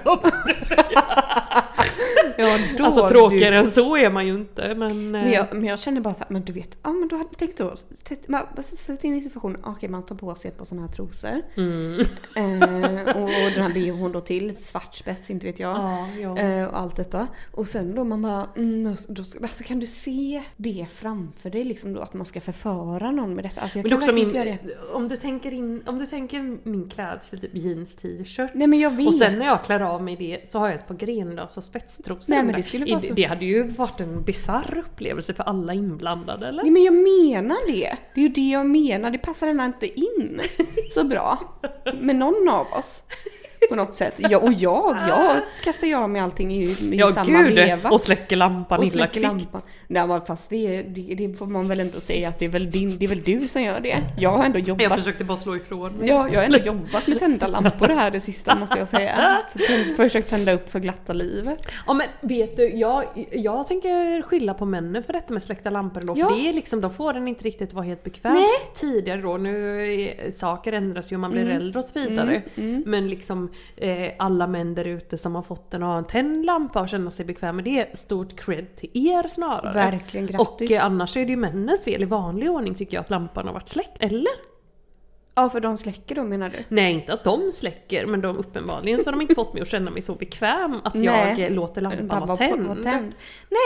Ja, då
Alltså
du-
tråkigare än så är man ju inte men... eh,
Men jag, men jag känner bara såhär, men du vet, ja men då hade vi tänkt då, tätt- man- man sätter in i situationen, "Ah, okej man tar på sig ett par sådana här trosor.
Mm.
Eh, och, och den här bhn då till, lite svart spets, inte vet jag.
Ja, ja.
Eh, och allt detta. Och sen då man bara, mm, då, ska- alltså kan du se det framför dig liksom då att man ska förföra någon med detta? Alltså jag
Men
kan
också
verkligen
min,
inte göra det.
om, du tänker in, om du tänker min klädsel, typ jeans, t-shirt.
Nej men jag vet.
Och sen när jag klär av mig det så har jag ett par grenlösa spetstrosor.
Nej, men
med.
det skulle vara
I-
så-
det hade ju varit en bisarr upplevelse för alla inblandade eller?
Nej men jag menar det. Det är ju det jag menar. Det passar ändå inte in så bra. Med någon av oss. På något sätt. Ja, och jag, jag kastar ju av mig allting i, i
ja
samma
gud!
veva.
Och släcker lampan
Och
illa
släcker
kvickt.
lampan. Nej men fast det, det, det får man väl ändå säga att det är väl, din, det är väl du som gör det. Jag har ändå
Jag
jobbat
försökte bara slå ifrån mig.
Ja, jag har ändå jobbat med tända lampor här det sista måste jag säga. För- för- Försökt tända upp för glatta livet.
Ja men vet du, jag, jag tänker skylla på männen för detta med släckta lampor då,
Ja.
för det är liksom, de får den inte riktigt vara helt bekväm. Tidigare då, nu är- saker ändras ju och man
Mm.
blir äldre och så vidare. Men liksom eh, alla män där ute som har fått den och har en tänd lampa och känner sig bekväm med det, stort cred till er snarare.
Verkligen, grattis.
Och eh, annars är det ju männens fel, i vanlig ordning tycker jag att lampan har varit släckt, eller?
Ja för de släcker då menar du?
Nej inte att de släcker men de uppenbarligen så har de inte fått mig att känna mig så bekväm att
Nej.
jag eh, låter lampan
Bara
vara
på-
tänd.
vara tänd.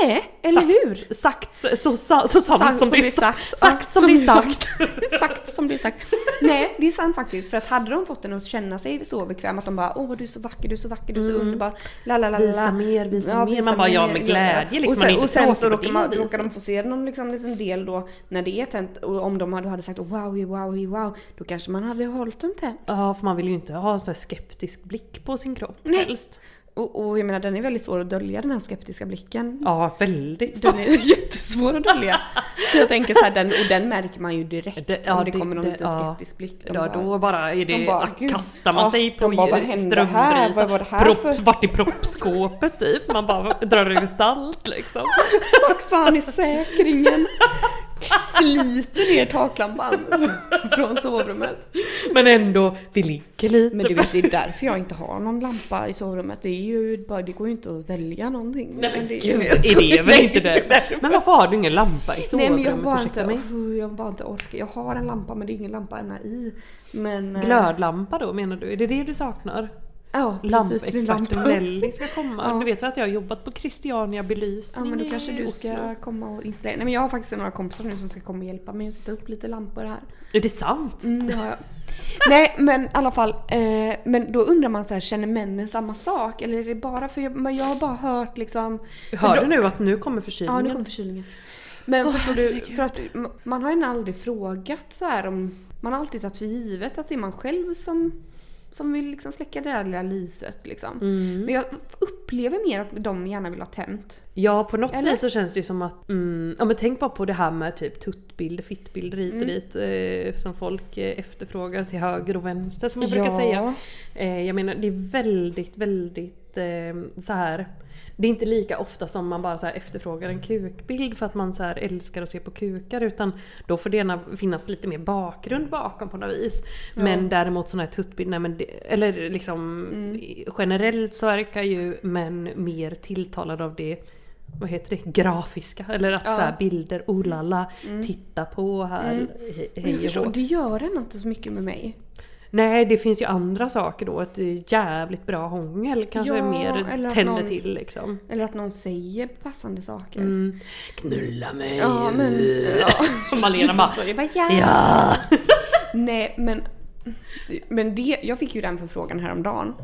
Nej, eller
Sagt-
hur?
Sagt så, så, sa- så sant
Sant
som, det är sagt.
sagt.
Sagt
Ja,
som, det är sagt.
Exakt som det är sagt. Nej, det är sant faktiskt. För att hade de fått den att känna sig så bekväm att de bara åh du är så vacker, du är så vacker, du är så underbar. La, la, la,
Mm.
la, la.
Visa mer, visa mer. Man bara, ja, med glädje, liksom.
Och
Man är
sen,
inte
och sen
tråkig
så
på
råkar,
det
man,
viset.
råkar de få se någon liksom, liten del då när det är tänt. Och om de hade, hade sagt wow, wow, wow, då kanske man hade hållit den tänd.
Ja, för man vill ju inte ha så här skeptisk blick på sin kropp
Nej.
helst.
Och, och jag menar den är väldigt svår att dölja den här skeptiska blicken.
Ja, väldigt
Den är jättesvår att dölja. Så jag tänker så här, den, och den märker man ju direkt
Det-
om
ja,
det
det-
kommer någon
det-
liten
ja.
skeptisk blick. De
Ja,
bara-
då bara är
de
det,
bara,
att
gud.
kastar man
Ja,
sig på
de bara, vad hände här? Vad var det här
Propp,
för-
Vart är proppskåpet typ? Man bara drar ut allt liksom.
Vart fan är säkringen? Sliter ner taklampan från sovrummet.
Men ändå, det ligger lite.
Men du vet, det är därför jag inte har någon lampa i sovrummet. Det, är ju bara, det går ju inte att välja någonting.
Nej men
det är-
gud, är det väl inte det? Men varför har du ingen lampa i
Nej men jag
sovrummet?
bara
Ursäkta
inte,
mig.
oh, jag bara inte orkar. Jag har en lampa men det är ingen lampa ännu i. Men... eh,
Glödlampa då menar du? Är det det du saknar?
Ja, precis. min
Lampexperten
lampa.
Nelly ska komma.
Ja.
Du vet väl att jag har jobbat på Christiania
Ja
belysning
men då kanske
i
du
Oslo.
ska komma och installera. Nej men jag har faktiskt några kompisar nu som ska komma och hjälpa mig att sätta upp lite lampor här.
Är det sant?
Mm, det har jag. Nej men i alla fall, eh, men då undrar man så här, känner männen samma sak? Eller är det bara för jag, men jag har bara hört liksom...
Hör
för
du
då-
nu att nu kommer förkylningen?
Ja nu kom förkylningen. Men
Åh,
förstår du,
herregud.
för att m- man har ju aldrig frågat så här om... Man har alltid tagit för givet att det är man själv som, som vill liksom släcka det där lilla lyset liksom.
Mm.
Men jag upplever mer att de gärna vill ha tänt.
Ja på något
Eller?
vis så känns det ju som att, mm, ja men tänk bara på det här med typ tuttbilder, fittbilder hit och
Mm.
dit eh, som folk eh, efterfrågar till höger och vänster som jag brukar säga. Eh, jag menar det är väldigt, väldigt eh, så här. Det är inte lika ofta som man bara så här efterfrågar en kukbild för att man så här älskar att se på kukar utan då får det gärna finnas lite mer bakgrund bakom på något vis. Men däremot sådana här tuttbilder, nej men det, eller liksom
Mm.
generellt så verkar ju män mer tilltalade av det vad heter det? Grafiska eller att så här bilder, oh la la, titta på här, he-
Men
hej
Mm. jag
och
förstår,
hå.
det gör ändå inte så mycket med mig.
Nej, det finns ju andra saker då. Ett jävligt bra hångel kanske
Ja, eller
mer
att
tänder
någon-
till liksom.
Eller att någon säger passande saker.
Mm. Knulla mig!
Ja men... Ja.
Malena bara
Så jag bara, ja.
ja.
Nej men... Men det, jag fick ju den förfrågan häromdagen.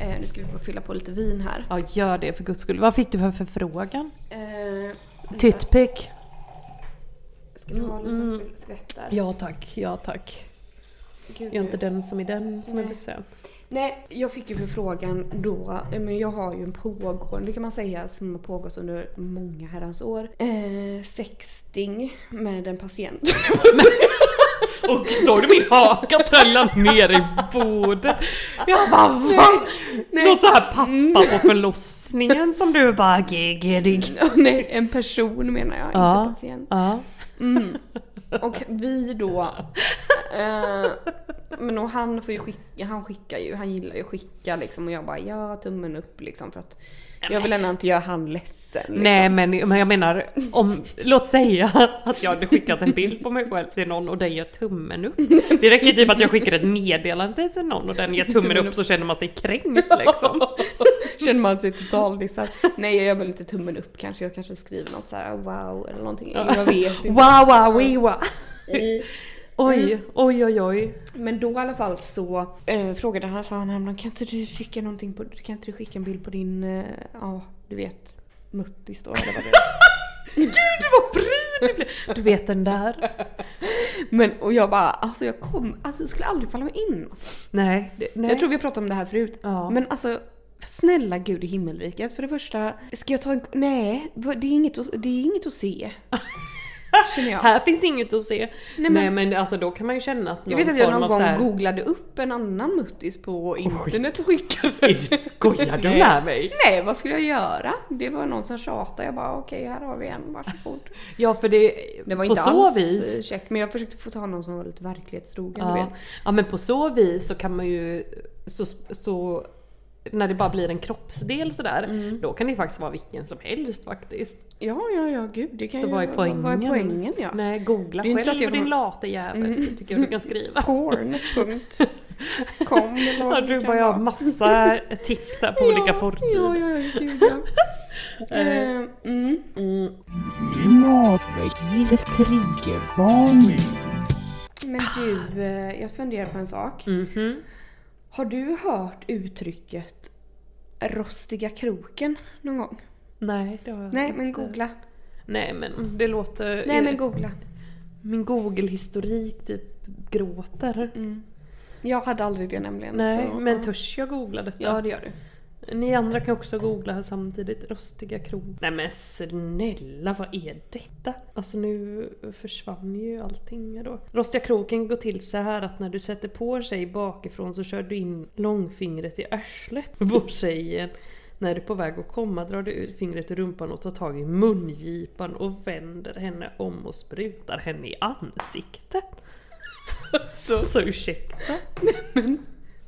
Eh, nu ska vi bara fylla på lite vin här.
ja, gör det för guds skull. Vad fick du för förfrågan?
Eh,
Tittpick.
ska du ha en liten skvätt- skvätt där?
Ja tack, ja tack.
Gud,
Jag är inte den som är den som jag
Nej.
brukar säga.
Nej, jag fick ju förfrågan då, Eh, men jag har ju en pågående kan man säga som har pågått under många herrans år. Eh, sexting med en patient.
Och såg du min haka trilla ner i bordet? Jag bara va?
Nej.
Någon sån här pappa på förlossningen som du bara gegedig.
Ja, Nej, en person menar jag,
Ja.
inte patient. Mm.
Ja.
Och vi då... Eh, men och han får ju skicka, han skickar ju, han gillar ju att skicka liksom och jag bara ja, tummen upp liksom för att jag vill ändå inte göra han ledsen. Liksom.
Nej men, men jag menar, om, låt säga att jag hade skickat en bild på mig själv till någon och den gör tummen upp. Det räcker typ att jag skickar ett meddelande till någon och den gör tummen upp så känner man sig kränkt liksom.
Känner man sig totaldissad. Nej jag gör väl inte tummen upp kanske, jag kanske skriver något så här wow eller någonting. Jag vet inte.
Wow wow wee, wow. Oj,
Mm.
oj oj oj.
Men då i alla fall så eh, frågade han, sa han "Men kan inte du skicka någonting på, kan inte du skicka en bild på din, eh, ja du vet, muttis då eller vad det är.
Gud vad pryd du blev. Du vet den där.
Men och jag bara alltså jag kom, alltså det skulle aldrig falla mig in. Alltså.
Nej. det- nej.
Jag tror vi har pratat om det här förut.
Ja.
Men alltså snälla gud i himmelriket, för det första, ska jag ta en, nej vad- det är inget, att- det är inget att se. Känner jag.
Här finns inget att se. Nej
men-
men, alltså då kan man ju känna att någon
Jag vet att jag
form
någon
av
gång
så här,
googlade upp en annan muttis på internet och skickade.
Skojar du
Nej.
med mig?
Nej, vad skulle jag göra? Det var någon som tjatade. Jag bara okej, här har vi en, varsågod.
Ja för det,
Det var
på
inte
så
alls
vis
eh, check, men jag försökte få ta någon som var lite verklighetstrogen. Du
Ja.
vet.
ja men på så vis så kan man ju så, så när det bara blir en kroppsdel sådär,
Mm.
då kan det ju faktiskt vara vilken som helst faktiskt.
Ja, ja, ja, gud. Det kan
Så
ju,
vad är poängen?
Vad är poängen ja?
Nej, googla
Det är inte så
själv
att jag Mm.
din
kommer-
late jävel, tycker jag du kan skriva.
Porn.com eller
Ja,
vad
du
kan
bara, jag har
vara.
massa tips här på olika porrsidor.
Ja, ja, ja, gud ja. Eh, mm.
Klimatväckningens triggervarning.
Men du, eh, jag funderar på en sak.
Mhm.
Har du hört uttrycket rostiga kroken någon gång?
Nej, det har jag
Nej,
inte.
men googla.
Nej men det låter...
Nej, men googla.
Min google-historik typ gråter.
Jag hade aldrig det nämligen.
Nej,
Mm, så-
men
ja.
törs jag googla detta?
Ja, det gör du.
Ni andra kan också googla här samtidigt. Rostiga krog. Nej men snälla, vad är detta? Alltså nu försvann ju allting här då. Rostiga kroken går till så här att när du sätter på en tjej bakifrån så kör du in långfingret i arslet på tjejen. När du är på väg att komma drar du ut fingret ur rumpan och tar tag i mungipan och vänder henne om och sprutar henne i ansiktet. Så, så ursäkta.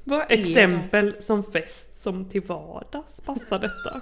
Vad är
Exempel som fest som till vardags passar detta.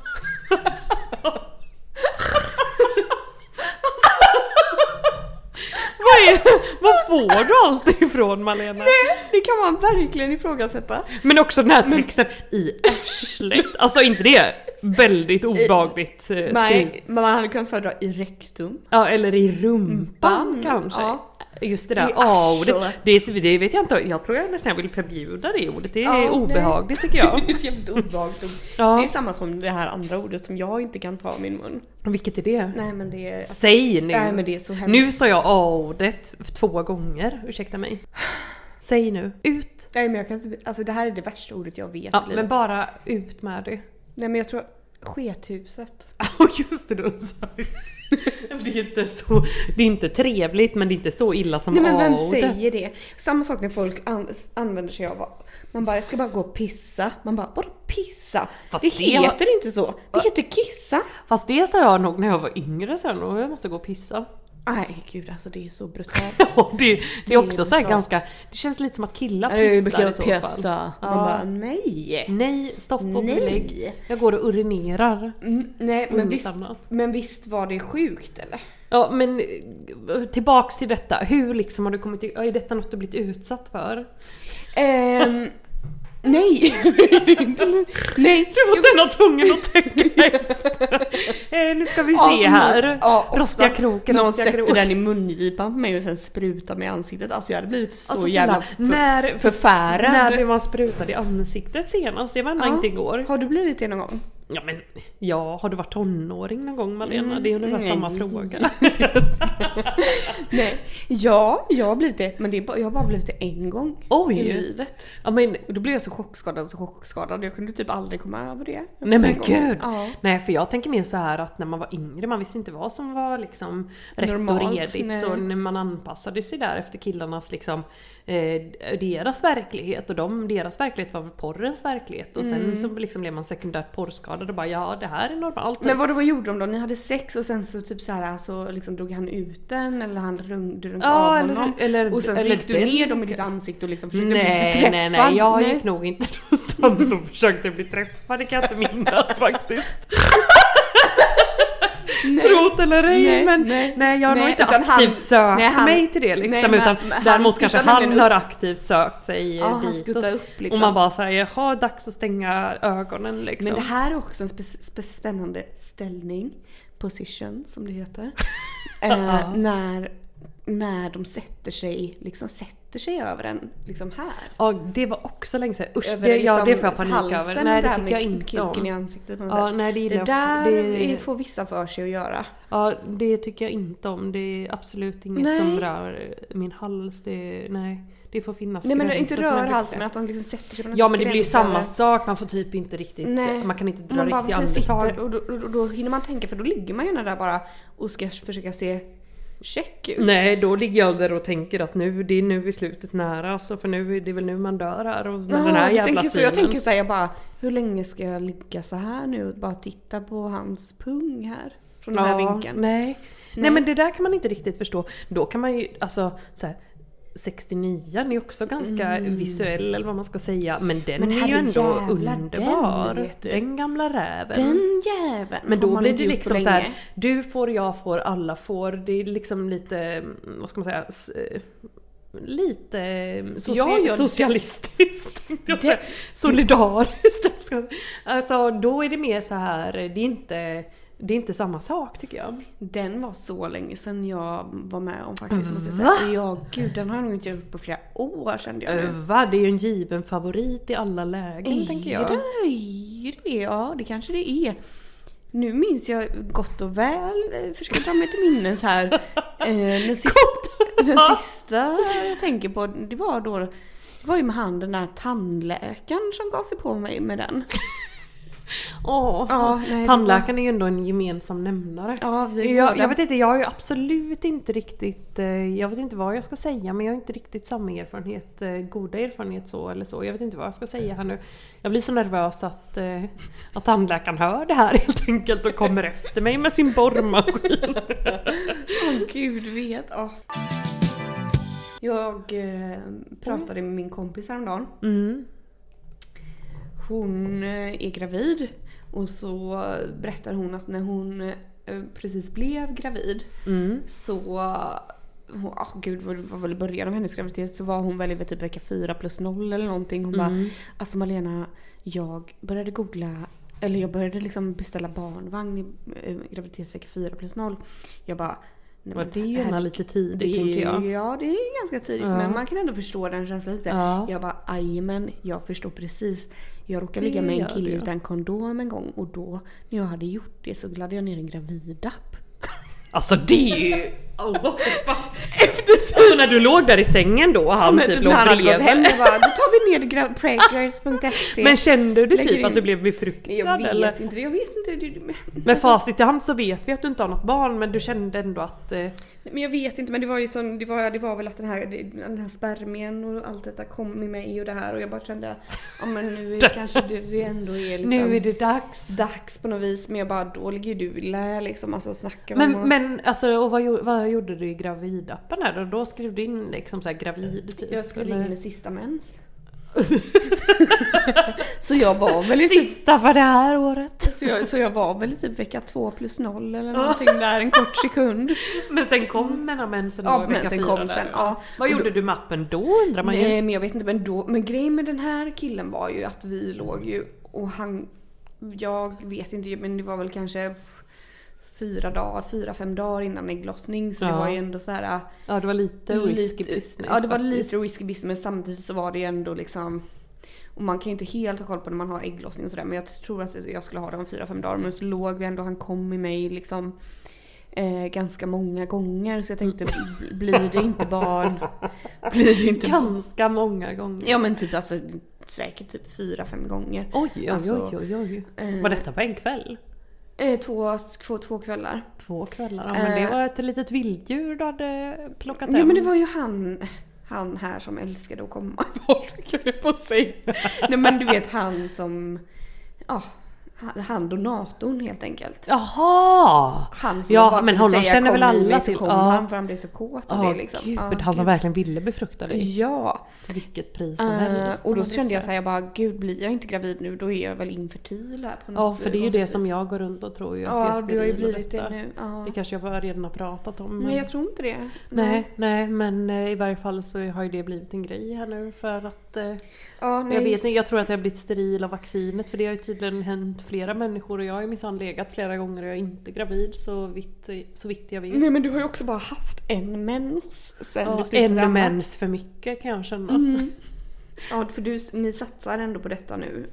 vad, är, vad får du allt ifrån Malena?
det? Det kan man verkligen ifrågasätta.
Men också den här texten i arslet. Alltså inte det väldigt obehagligt eh, skrivet?
Nej, men man hade kunnat föredra i rektum.
Ja eller i rumpan
Bam,
kanske.
Mm. ja.
Just det
Det
där
är
A-ordet.
arslet.
Det, det, det vet jag inte, jag tror jag nästan jag vill förbjuda det ordet. Det är
Ja,
obehagligt tycker jag.
Det är ett jävligt obehagligt ord. Det
Ja.
är samma som det här andra ordet som jag inte kan ta i min mun.
Vilket är det?
Nej men det är...
Säg nu!
Nej men det är så hemskt.
nu sa jag A-ordet två gånger, ursäkta mig. Säg nu, ut!
Nej men jag kan inte... Alltså det här är det värsta ordet jag vet
Ja,
i livet.
men bara ut med det.
Nej men jag tror... Skethuset.
Och just det, du sa ju- det är inte så, det är inte trevligt men det är inte så illa som
Nej men vem
A-ordet.
säger det? Samma sak när folk an- använder sig av... Man bara, jag ska bara gå och pissa. Man bara, vadå pissa?
Fast
det
det var-
heter inte så. Det heter kissa.
Fast det sa jag nog när jag var yngre sen och jag måste gå och pissa.
Nej gud alltså det är så brutalt.
Ja, det, det är också så här
brutalt.
ganska, det känns lite som att killar
Ja, det
pissar
brukar
i så
pissa.
fall.
Man
Ja.
bara nej.
Nej, stopp och
Nej.
belägg. Jag går och urinerar.
Mm, nej
inget
men visst,
annat.
men visst var det sjukt eller?
Ja men eh, tillbaks till detta, hur liksom har du kommit, i- ja, är detta något du blivit utsatt för?
Ehm, nej. Inte- nej.
Du var denna tvungen att tänka efter. Eh, nu ska vi
Ja,
se
som-
här.
ja, ofta
rostiga kroken,
Någon
rostiga
sätter
kroken.
den i mungipan på mig och sen sprutar mig i ansiktet. Alltså jag hade blivit så
Alltså, snälla,
jävla för,
när,
förfärad.
när blev man sprutad i ansiktet senast? Det var
Ja.
ja. inte igår.
Har du blivit det någon gång?
Ja men, ja, har du varit tonåring någon gång Malena? det är ungefär
Mm, nej.
samma fråga.
Nej. Ja, jag har blivit det. Men det är bara, jag har bara blivit det en gång
Oj.
i livet.
Ja men,
Och då blev jag så chockskadad, så chockskadad. Jag kunde typ aldrig komma över det.
nej men
En gång.
gud!
Ja.
Nej för jag tänker mer så här att när man var yngre, man visste inte vad som var liksom rätt och
Normalt,
redigt.
nej.
Så när man anpassade sig där efter killarnas liksom, eh, deras verklighet och de, deras verklighet var väl porrens verklighet. Och sen
Mm.
så liksom blev man sekundärt porrskadad och bara ja det här är normalt.
Men vad, vad gjorde de då? Ni hade sex och sen så typ så här, så liksom drog han ut den eller han rung, du runkade
Ja,
av
eller-
honom.
eller-
och sen så
eller
gick du
den-
ner dem i ditt ansikte och liksom försökte bli
Nej,
träffad.
nej, nej. Jag gick nog inte någonstans och försökte bli träffad. Det kan jag inte minnas faktiskt. Trot eller ej,
Nej,
men
nej,
nej, jag har
nej,
nog inte
utan
aktivt
han-
sökt
nej, han-
mig till det liksom.
nej,
utan
men- men
däremot
han
kanske
skuttade
han
nämligen
har aktivt sökt sig
Ja,
eh,
han
ditåt.
skuttade upp, liksom.
Och man bara säger jaha, dags att stänga ögonen liksom.
Men det här är också en spe, spe, spännande ställning, position som det heter. eh, när, när de sätter sig, liksom sätter sig över en liksom här.
Ja, det var också länge sedan. Usch,
Över
det, ja,
liksom
det får jag panik
halsen
över.
och
Nej, det
där
tycker
med
jag inte
kuken i
om.
ansiktet på något
Ja,
sätt.
nej, det
Det
gillar
där
det-
är- får vissa för sig att göra.
Ja, det tycker jag inte om. Det är absolut inget
Nej.
som rör min hals. Det, nej, det får finnas
Nej men
gränser
inte
som
rör
är
halsen men
viktiga.
att de liksom sätter sig på något
Ja men det blir ju
gräns över-
samma sak, man får typ inte riktigt, man kan inte dra
Man bara,
riktigt
varför sitter-
andetag.
Och då, och då, och då hinner man tänka för då ligger man ju där bara och ska försöka se check ut.
Nej, då ligger jag där och tänker att nu, det är nu i slutet nära alltså, för nu är det väl nu man dör här och med den
Ja,
här
jag
jävla
tänker så,
synen.
jag tänker såhär, jag bara hur länge ska jag ligga så här nu och bara titta på hans pung här? Från den här vinkeln.
Nej. nej. men det där kan man inte riktigt förstå. Då kan man ju, alltså så här, 69 är också ganska visuell eller vad man ska säga. Men den
Mm. Men
är ju ändå
herrejävlar,
underbar.
den,
Den,
vet du.
gamla räven.
Den jäveln
men
har
då
man
blir
inte
det
gjort på
liksom så här,
länge.
du får, jag får, alla får. Det är liksom lite, mm, vad ska man säga, s- eh, lite soci-
Ja, ja.
socialistiskt. tänkte jag säga. Solidariskt. vad ska man säga. Alltså då är det mer så här, det är inte, det är inte samma sak tycker jag.
Den var så länge sedan jag var med om faktiskt måste jag
Va?
säga. Ja gud den har jag nog inte gjort på flera år kände jag nu.
Eh, Va? Det är ju en given favorit i alla lägen tänker
Mm.
jag.
Är det- Är det Ja, det kanske det är. Nu minns jag gott och väl, eh, försöker dra mig till minnes här. Eh, Den sista, den sista jag tänker på, det var då, det var ju med han den där tandläkaren som gav sig på mig med den.
Åh,
Ja, nej, det
Tandläkaren är ju ändå en gemensam nämnare.
Ja, det är
jag,
båda.
jag vet inte, jag har ju absolut inte riktigt, eh, jag vet inte vad jag ska säga men jag har inte riktigt samma erfarenhet, eh, goda erfarenhet så eller så. Jag vet inte vad jag ska säga här nu. Jag blir så nervös att, eh, att tandläkaren hör det här helt enkelt och kommer efter mig med sin borrmaskin.
Åh, Gud vet. ja. Jag eh, pratade med min kompis häromdagen.
Mm.
Hon eh, är gravid och så berättar hon att när hon eh, precis blev gravid
Mm.
så... Hon, ah, gud, vad vad var väl i början av hennes graviditet så var hon väl i typ vecka 4 plus 0 eller någonting. Hon
Mm.
bara “Alltså Malena, jag började googla, eller jag började liksom beställa barnvagn i eh, graviditetsvecka 4 plus 0. Jag bara Nej,
Men
men
det är ju
här-
gärna lite
det
tidigt tänker
är,
jag.
ja det är ganska tidigt
Ja.
men man kan ändå förstå den känslan lite.
Ja.
Jag bara "Aj, men jag förstår precis. Jag råkade
Det
ligga med en
gör
kille
du.
utan kondom en gång och då när jag hade gjort det så gladde jag ner en gravidapp.
Alltså det är ju... Oh, what the fuck? alltså när du låg där i sängen då och han
Men
typ
typ
låg
när han hade gått
bredvid.
hem och bara då tar vi ner gra- preggers.se.
Men kände du
Lägger
typ att
in-
du blev befruktad
Nej, jag vet
eller?
inte det, jag vet inte. Det, det,
Med facit i hand så vet vi att du inte har något barn men du kände ändå att... Eh,
men jag vet inte men det var ju sån, det var, det var väl att den här, den här spermien och allt detta kom med mig och det här och jag bara kände ja men nu är det kanske det, det ändå är liksom.
nu är det dags.
dags på något vis men jag bara då ligger ju du lä liksom alltså och snackar
Men,
med honom.
men alltså och vad, gjo- vad gjorde du i gravidappen här då? Då skrev du in liksom såhär gravid typ?
Jag skrev
eller?
in i sista mens. så jag var väl i typ,
Sista för det här året.
så jag, så jag var väl i typ vecka två plus noll eller någonting där en kort sekund.
Men sen kom den här mensen
Ja,
då i vecka
mensen
fyra
kom
där,
sen,
va?
ja.
Vad
Och
gjorde du med appen då undrar man ju.
Nej men jag vet inte men då, men grejen med den här killen var ju att vi låg ju och han, jag vet inte men det var väl kanske fyra dagar, fyra fem dagar innan ägglossning så det
Ja.
var ju ändå så här
Ja det var lite risky
lite-
business
Ja det var
faktiskt.
lite risky business men samtidigt så var det ju ändå liksom och man kan ju inte helt ha koll på när man har ägglossning och sådär men jag tror att jag skulle ha det om 4-5 dagar men så låg vi ändå, han kom i mig liksom eh, ganska många gånger så jag tänkte blir det inte barn? Blir det inte barn?
Ganska många gånger.
Ja men typ alltså säkert typ 4-5 gånger.
Oj oj
Alltså,
oj oj. oj.
eh,
Var detta på en kväll?
Eh, två, två, två kvällar.
Två kvällar? Ja, men
Eh.
det var ett litet vilddjur du hade plockat hem.
Ja men det var ju han, han här som älskade att komma i våld kan jag på sig. Nej men du vet han som, ja, han- han donatorn helt enkelt.
Jaha!
Han som
Ja,
jag bara
men
kunde
honom känner
"Kom
väl
i mig",
alla
så
till.
Kom
Ja.
han för han blev så kåt av
Ja,
det liksom.
gud,
Ja,
han som verkligen ville befrukta dig.
Ja,
Till vilket pris som
eh,
helst.
och då
som man
kände jag
säger.
såhär, jag bara gud blir jag inte gravid nu då är jag väl infertil här på något
Ja för det är ju det som
vis.
jag går runt och tror ju att jag
typ- Ja
är
du har ju
steril och
blivit
detta.
det nu. Ja.
Det kanske jag bara redan har pratat om. men-
Nej jag tror inte det.
nej, nej men eh, i varje fall så har ju det blivit en grej här nu för att eh,
Ja, nej,
jag vet
just-
inte, jag tror att jag har blivit steril av vaccinet för det har ju tydligen hänt flera människor och jag har ju minsann legat flera gånger och jag är inte gravid så vitt, så vitt jag vet.
Nej men du har ju också bara haft en mens sen
Ja,
du slutade
en
amma.
mens för mycket kan jag
Mm.
känna.
Ja för du, ni satsar ändå på detta nu.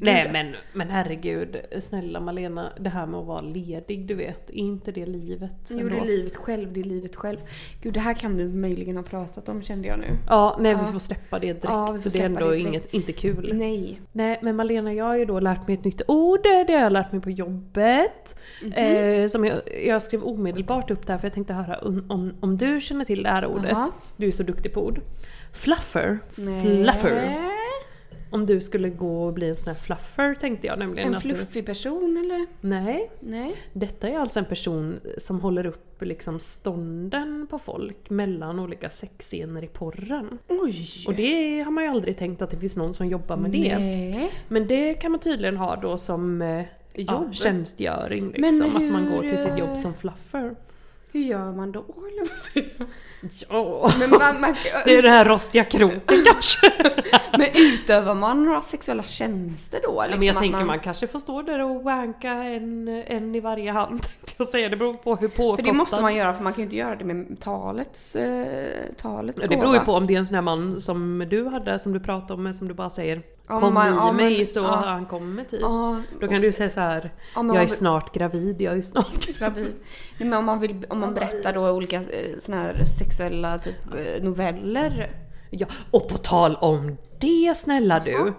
Nej men, men herregud, snälla Malena, det här med att vara ledig du vet, är inte det livet?
Jo det
ändå?
är livet själv, det är livet själv. Gud det här kan vi möjligen ha pratat om kände jag nu.
Ja, nej vi
Ja.
får släppa det direkt.
Ja, vi får
det är
släppa
ändå
det direkt.
inget, inte kul. Nej.
Nej.
men Malena jag har ju då lärt mig ett nytt ord, det har jag lärt mig på jobbet.
Mhm.
eh, som jag, jag skrev omedelbart upp där för jag tänkte höra om, om, om du känner till det här ordet.
Jaha.
Du är så duktig på ord. Fluffer. Fluffer. Om du skulle gå och bli en sån här fluffer tänkte jag nämligen.
En
att
fluffig person eller?
Du, nej,
Nej.
detta är alltså en person som håller upp liksom stånden på folk mellan olika sexscener i porren.
Oj.
Och det har man ju aldrig tänkt att det finns någon som jobbar med det.
Nej.
Men det kan man tydligen ha då som eh, ja,
Jobb.
tjänstgöring.
Men
Liksom, Att man
hur,
går till sitt
eh,
jobb som fluffer.
Hur gör man då? eller vad säger jag?
Ja.
Men, man, man,
Det är det här rostiga kroken kanske.
men utövar man några sexuella tjänster då?
Ja,
Liksom,
men jag
att
tänker man kanske får stå där och wanka en, en i varje hand. tänkte Jag säga. Det beror på hur
För
påkostad.
det måste man göra för man kan ju inte göra det med talets, eh, talets
Ja, Det beror ju
gåva.
på om det är en sån här man som du hade som du pratade om men som du bara säger
Ja,
Kom
man-
i
ja,
mig
men-
så
ja.
han kommer typ.
Ja,
Då kan du ju säga så här.
Ja, men
jag är
om-
snart gravid, jag är snart
gravid. Nej, men om man, vill, om man berättar då olika eh, såna här sexuella typ eh, noveller.
Ja, och på tal om det snälla du.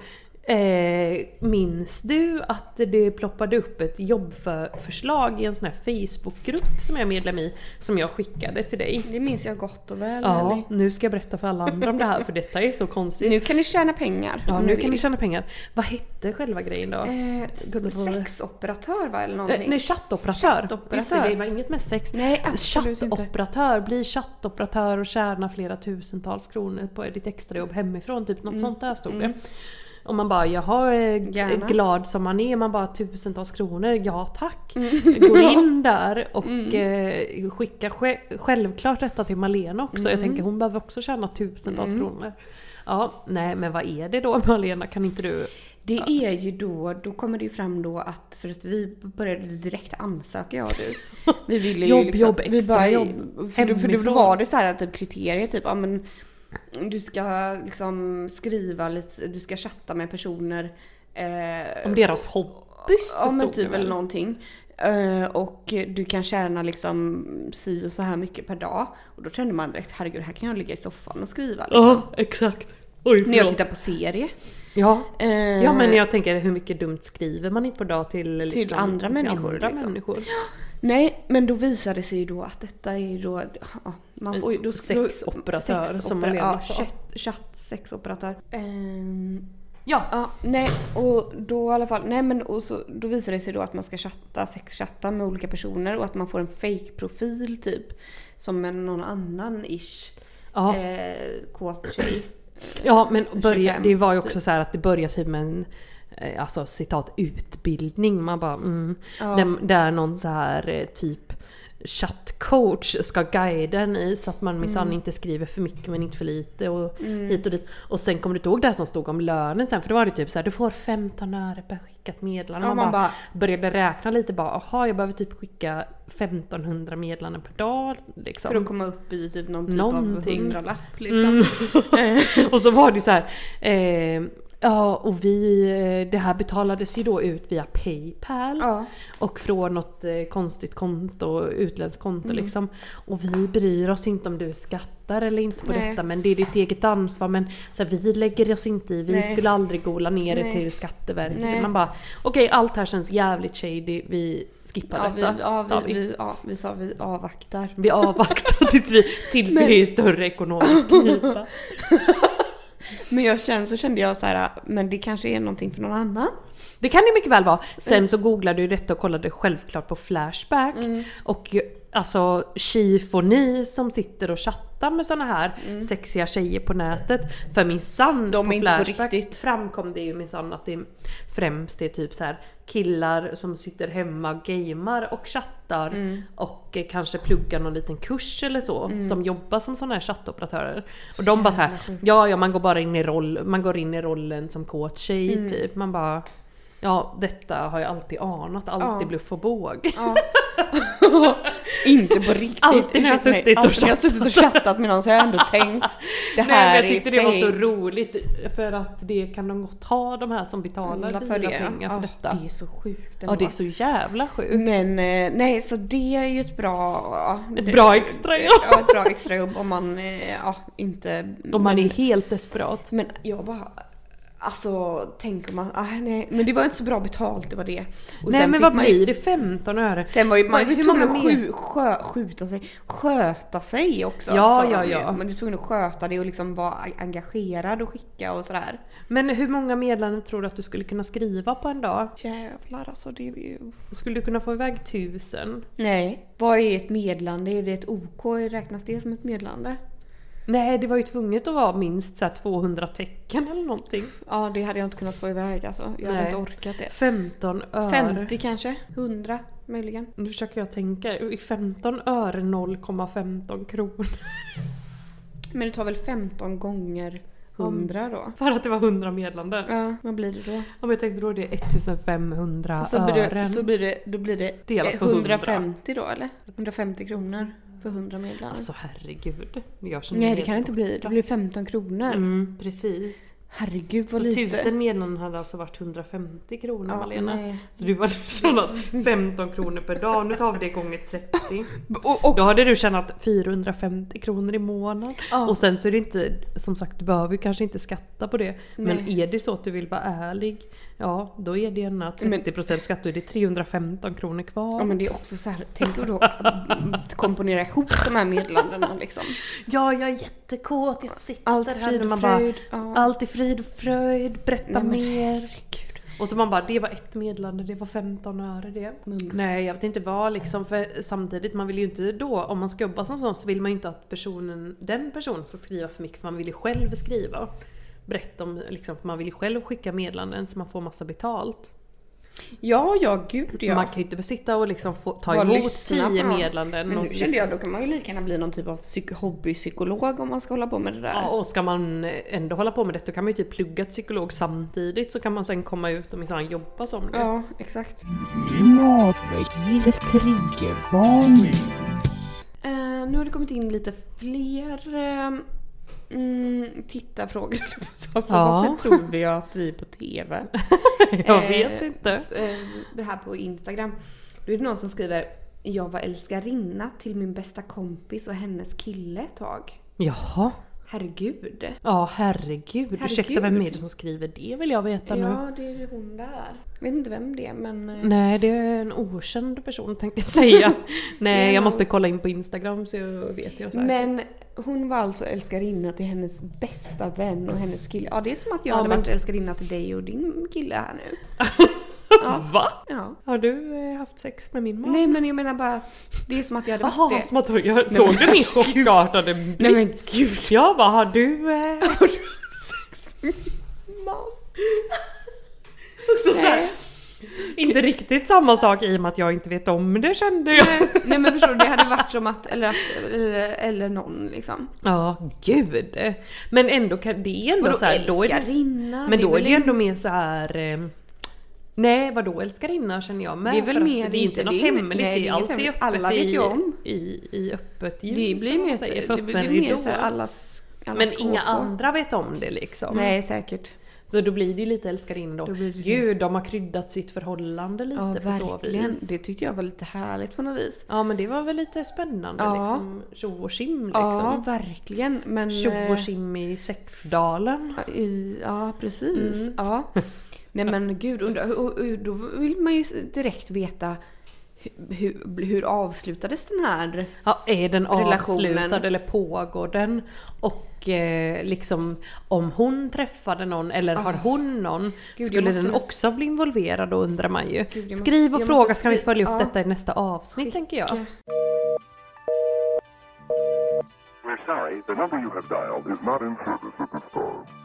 Eh, minns du att det ploppade upp ett jobbförslag i en sån här Facebookgrupp som jag är medlem i, som jag skickade till dig?
Det minns jag gott och väl.
Ja,
Nelly.
nu ska jag berätta för alla andra om det här för detta är så konstigt.
Nu kan ni tjäna pengar.
ja,
om
nu
ni
kan ni
vill.
tjäna pengar. Vad hette själva grejen då?
Mm. Eh, s- sexoperatör va eller
Eh,
någonting?
nej, chattoperatör.
Chattoperatör.
Just det, det var inget med sex.
Nej, absolut inte.
chattoperatör, bli chattoperatör och tjäna flera tusentals kronor på ditt extrajobb hemifrån. Typ
Mm.
något sånt där stod det. Och man bara jaha, eh, g-
Gärna.
glad som man är, man bara tusentals kronor, ja tack.
Mm.
Går in där och eh,
Mm.
skickar sj- självklart detta till Malena också. Jag tänker hon behöver också tjäna tusentals kronor. Ja, nej men vad är det då Malena? Kan inte du?
Det är ju då, då kommer det ju fram då att, för att vi började direkt ansöka jag och du. Vi ville ju
Jobb,
liksom,
jobb,
vi
extra
bara,
jobb,
För, då- för då
hemifrån.
var det så här typ kriterier typ, ja men du ska liksom skriva lite, du ska chatta med personer. Eh,
Om deras hobbys så
Ja men
stod det
typ
väl?
eller någonting. Eh, och du kan tjäna liksom si och så här mycket per dag. Och då kände man direkt, herregud här kan jag ligga i soffan och skriva. Liksom.
Ja, exakt. Oj,
När jag
förlåt.
tittar på serie.
Ja.
Eh,
ja, men jag tänker hur mycket dumt skriver man inte på dag till, liksom,
andra människor,
andra
liksom.
människor?
Nej, men då visade det sig ju då att detta är ju då... Ja, man får ju, då,
Sexoperatör,
sexopera-
som liksom. Malena
ja,
sa.
chatt- chatt, sexoperatör. Ehm,
Ja.
Ja, nej och då i alla fall, nej men och så, då visar det sig då att man ska chatta, sexchatta med olika personer och att man får en fake profil typ. Som en någon annan ish
Ja.
eh, kåt tjej.
Ja men börja,
25,
det var ju också så här att det började typ med en eh, Alltså citat utbildning. Man bara mm. där, där någon så här eh, typ chattcoach ska guida en i så att man minsann
Mm.
inte skriver för mycket men inte för lite och hit och dit. Och sen kommer du inte ihåg det här som stod om lönen sen för då var det typ så här du får 15 öre per skickat meddelande.
Ja,
man
man
bara
bara-
började räkna lite bara aha jag behöver typ skicka 1500 meddelanden per dag liksom.
För att komma upp i typ någon typ
Någonting. Mm.
av hundralapp liksom. Eh,
Och så var det ju så här. Eh, ja och vi, eh, det här betalades ju då ut via Paypal.
Ja.
Och från något eh, konstigt konto, utländskt konto
Mm.
liksom. Och vi bryr oss inte om du skattar eller inte på
Nej.
detta men det är ditt eget ansvar. Men så här, vi lägger oss inte i, vi
Nej.
skulle aldrig gola ner det
Nej.
till Skatteverket.
Nej.
Man bara okej allt här känns jävligt shady, vi skippar
ja, vi,
detta. sa
ja, vi, vi, ja, vi sa vi avvaktar.
vi avvaktar tills vi, tills vi
Men-
är i större ekonomisk knipa.
Men jag kände, så kände jag så här, men det kanske är någonting för någon annan.
Det kan det mycket väl vara. Sen
Mm.
så googlade du detta och kollade självklart på Flashback. Och ju- alltså tjifoni som sitter och chattar med såna här sexiga tjejer på nätet. För minsann
Mm. De
på
är inte på
Flashback
riktigt.
framkom det ju minsann att det främst är typ så här killar som sitter hemma och gamer och chattar och eh, kanske pluggar någon liten kurs eller så som jobbar som sådana här chattoperatörer. och de bara Mm. så här, ja ja man går bara in i roll, man går in i rollen som kåt tjej typ. Man bara Ja detta har jag alltid anat, alltid
Ja.
bluff och båg.
Inte på riktigt.
Alltid när jag
Ursäkta mig,
suttit och
alltid när jag suttit och chattat med någon så har jag ändå tänkt det
Nej, men
här
jag tyckte
är
det var
fake.
så roligt för att det kan de gott ha de här som betalar
för det.
dyra pengar för
Ja,
detta.
Det är så sjukt
Ja det är så jävla sjukt.
Men eh, nej, så det är ju ett bra... ja,
Ett
det-
bra extrajobb.
Ja, ett bra extrajobb om man eh, ja, inte...
Om man är helt desperat.
Men jag bara... Alltså, tänk om man... Ah, nej, men det var inte så bra betalt, det var det. Och
Nej
sen
men
fick
vad
man ju-
blir det? 15 öre?
Sen var ju man
Hur
var ju tvungen
många
att
mer?
skju, skö, skjuta sig, sköta sig också.
Ja,
sa de
ja,
ju.
ja.
Men du var tvungen att sköta dig och liksom vara engagerad och skicka och sådär.
Men hur många meddelanden tror du att du skulle kunna skriva på en dag?
Jävlar alltså, det är ju...
Skulle du kunna få iväg tusen?
Nej. Vad är ett medlande? Är det ett OK? Räknas det som ett medlande?
Nej det var ju tvunget att vara minst så här 200 tecken eller någonting.
Ja, det hade jag inte kunnat få iväg alltså. Jag hade
Nej.
inte orkat det.
15 öre.
50 kanske? 100 möjligen?
Nu försöker jag tänka. I 15 öre 0,15 kronor.
Men det tar väl 15 gånger 100 då?
För att det var 100 meddelanden.
Ja, vad blir det då?
Om jag tänkte då det är 1500
Så blir det,
ören.
så blir det, då blir det
Delat
eh,
på 100.
150 då eller? 150 kronor för 100 medlemmar.
Alltså herregud. Jag känner
Nej det
helt
kan det inte bli. Det
borta.
blir 15 kronor.
Mm, precis.
Herregud vad
Så
lite.
tusen meddelanden hade alltså varit 150 kronor
Ja,
Malena.
nej.
Så du var tjänat 15 kronor per dag, nu tar vi det gånger 30.
Och, och,
Då hade du tjänat 450 kronor i månaden.
Ja.
Och sen så är det inte, som sagt du behöver ju kanske inte skatta på det. Men
Nej.
är det så att du vill vara ärlig, ja då är det en 30% skatt, då är det 315 kronor kvar.
ja men det är också så här, tänk att då att komponera ihop de här meddelandena liksom.
Ja, jag är jättekåt, jag sitter
Allt i
här
frid
när
och
man bara,
fröjd, ja.
Allt i frid och fröjd, berätta
Nej, men
mer. Och så man bara, det var ett meddelande, det var 15 öre det.
Mums.
Nej jag vet inte vad liksom, för samtidigt man vill ju inte då, om man ska jobba som sån så vill man ju inte att personen, den personen ska skriva för mycket för man vill ju själv skriva. Berätta om, liksom, för man vill ju själv skicka meddelanden så man får massa betalt.
Ja, ja gud ja.
Man kan ju inte sitta och liksom få, ta
Bara
emot
lyssna på
tio
dem.
meddelanden.
Men
och liksom-
nu kände jag, då kan man ju lika gärna bli någon typ av psyk- hobbypsykolog om man ska hålla på med det där.
Ja, och ska man ändå hålla på med det då kan man ju typ plugga psykolog samtidigt så kan man sen komma ut och minsann jobba som det.
Ja, exakt.
Klimatväckande triggervarning.
Eh, nu har det kommit in lite fler eh, mm, tittarfrågor. alltså,
Ja.
Varför tror vi att vi är på TV?
jag
Eh,
vet inte.
Eh, här på Instagram. Då är det någon som skriver “Jag var älskarinna till min bästa kompis och hennes kille ett tag”.
Jaha.
Herregud.
Ja herregud. Ursäkta
Herregud.
vem är det som skriver det vill jag veta nu. Mm,
Ja, det är hon där. Jag vet inte vem det är men... eh,
Nej det är en okänd person tänkte jag säga. Nej
Ja.
jag måste kolla in på Instagram så jag vet jag säkert.
Men hon var alltså älskarinna till hennes bästa vän och hennes kille. Ja det är som att jag
Ja,
hade
men-
varit älskarinna till dig och din kille här nu.
Va?
Ja.
Har du eh, haft sex med min man?
Nej men jag menar bara att det är som att jag hade varit
Jaha,
det.
som att jag såg du min chockartade blick?
Nej men gud.
Jag bara har du... Eh...
Har du sex med min man?
Också så här,
Nej.
inte riktigt samma sak i och med att jag inte vet om det kände jag.
Nej men förstår du, det hade varit som att, eller, att, eller, eller någon liksom.
Ja, gud. Men ändå kan det är ändå
Vadå
så här, då är det,
älskarinna?
Men
Det
då är
väl
det ju ändå mer så här. Eh, nej vadå älskarinna känner jag med.
Det är väl
för att
mer
det är inte
inte-
något
det är-
hemligt.
nej, det är
allt
inget
är
hemligt.
öppet
Alla vet
i,
ju om.
I, i öppet ljus.
Det
som
blir
man
mer,
säger,
så,
för
det
öppen
blir mer
ridå.
så här allas, allas
Men inga
kåkor.
andra vet om det liksom.
Nej säkert.
Så då blir det ju lite älskarinna då.
Då blir det-
Gud, de har kryddat sitt förhållande lite på så vis.
Det tyckte jag var lite härligt på något vis.
Ja men det var väl lite spännande
Ja.
liksom. Tjo och tjim
Ja,
liksom.
verkligen. Men...
Tjo
eh,
och tjim i sexdalen.
i, ja, precis. Ja. Nej men gud, undra, och, och, då vill man ju direkt veta hur, hur, hur avslutades den här?
Ja, är den
Relationen.
avslutad eller pågår den? Och eh, liksom om hon träffade någon eller har hon någon?
Ah. jag
skulle
måste
den
nästan-
också bli involverad då undrar man ju.
jag måste-
Skriv och
jag
fråga
måste
så kan vi
skri-
följa upp
ja.
detta i nästa avsnitt tänker jag.
We're sorry, the number you have dialed is not in service at this time.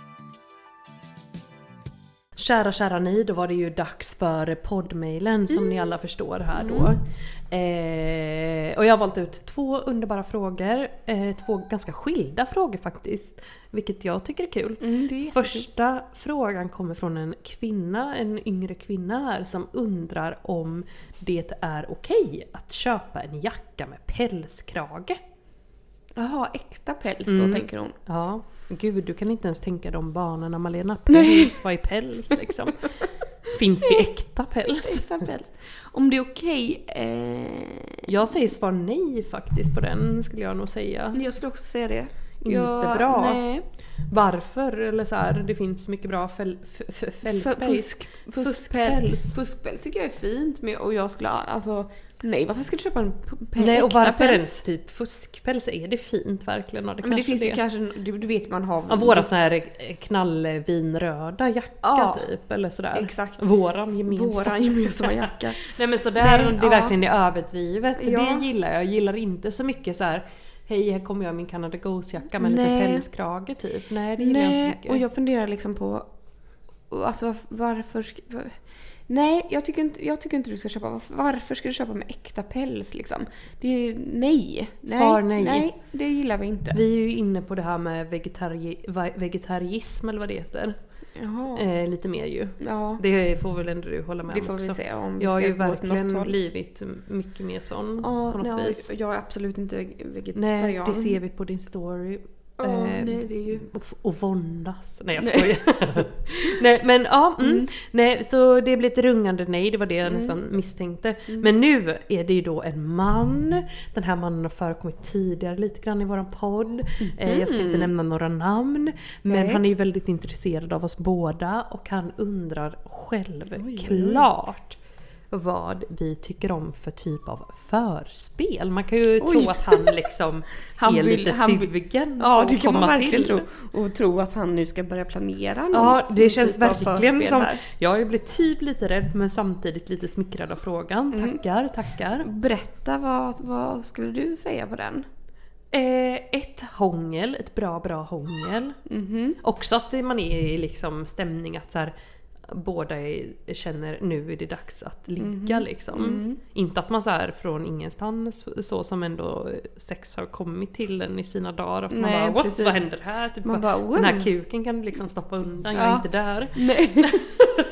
Kära, kära ni, då var det ju dags för poddmailen som
Mm.
ni alla förstår här då. Eh, och jag har valt ut två underbara frågor. Eh, två ganska skilda frågor faktiskt. Vilket jag tycker är kul.
Mm, det är jättekul.
Första frågan kommer från en kvinna, en yngre kvinna här som undrar om det är okej att köpa en jacka med pälskrage.
Jaha, äkta päls då tänker hon.
Ja, gud du kan inte ens tänka de banorna Malena. Päls, vad är päls liksom? Finns det äkta päls?
Äkta päls. Om det är okej? Eh,
Jag säger svar nej faktiskt på den skulle jag nog säga.
jag skulle också säga det.
Inte
jag,
bra.
Nej.
Varför? Eller så här, det finns mycket bra fäll, f, f,
F-
fällpäls.
Fusk, fuskpäls. Fuskpäls tycker jag är fint men, och jag skulle alltså... Nej varför ska du köpa en p- p-
Nej och
äkta
varför
päls?
ens typ fuskpäls? Är det fint verkligen? Ja, det
Men det
kanske
finns
det.
ju kanske, du, du vet man har...
Ja, våra såna här eh, knallvinröda jacka
Ja,
typ eller sådär.
exakt.
Våran gemensamma.
Våran gemensamma jacka.
Nej men sådär,
Nej,
det är
ja.
verkligen det är överdrivet.
Ja.
Det gillar jag. Jag gillar inte så mycket så här. Hej här kommer jag i min Canada Goose-jacka med en
Nej.
liten pälskrage typ. Nej det gillar jag inte så
Nej,
mycket.
och jag funderar liksom på... och Alltså varf- varför... sk- var- Nej, jag tycker, inte, jag tycker inte du ska köpa... varf- Varför ska du köpa med äkta päls liksom? Det är ju nej. nej.
Svar nej.
Nej, det gillar vi inte.
Vi är ju inne på det här med vegetari- va- vegetarism eller vad det heter.
Jaha.
Eh, lite mer ju.
Ja,
Det får väl ändå du hålla med
det
om
får
också.
vi se om vi
Jag har
ska
ju
gå åt något
verkligen
håll.
blivit mycket mer sån på
Ja,
något
nej,
vis.
jag är absolut inte veg- vegetarian.
Nej, det ser eh, vi på din story.
Ja, nej, det är ju-
och, och våndas. Nej jag
Nej.
skojar. nej men ja. Mm. Nej, så det blev ett rungande nej, det var det jag
Mm.
nästan misstänkte. Men nu är det ju då en man. Den här mannen har förekommit tidigare lite grann i våran podd. Eh, jag ska inte nämna några namn. Men
Mm. Nej.
han är ju väldigt intresserad av oss båda och han undrar självklart vad vi tycker om för typ av förspel. Man kan ju
Oj.
tro att han liksom
Han
är
vill-
lite
han vill-
sugen
Ja,
på
det
att
kan man
komma
verkligen
till.
tro. Och tro att han nu ska börja planera någon
Ja, det
typ
känns
av
verkligen
förspel
som...
här.
Jag har ju blivit typ lite rädd men samtidigt lite smickrad av frågan.
Mm.
Tackar, tackar.
Berätta, vad, vad skulle du säga på den?
Eh, ett
Mhm.
hångel, ett bra bra hångel. Också att det- man är i liksom stämning att så här, båda är- känner nu är det dags att ligga
Mhm.
liksom.
Mm.
Inte att man så här från ingenstans så som ändå sex har kommit till en i sina dagar. Att man
Nej,
bara what,
precis.
vad händer här? Typ,
Man
bara,
bara,
den här
wow."
kuken kan du liksom stoppa undan, jag är
Ja.
inte där.
Nej.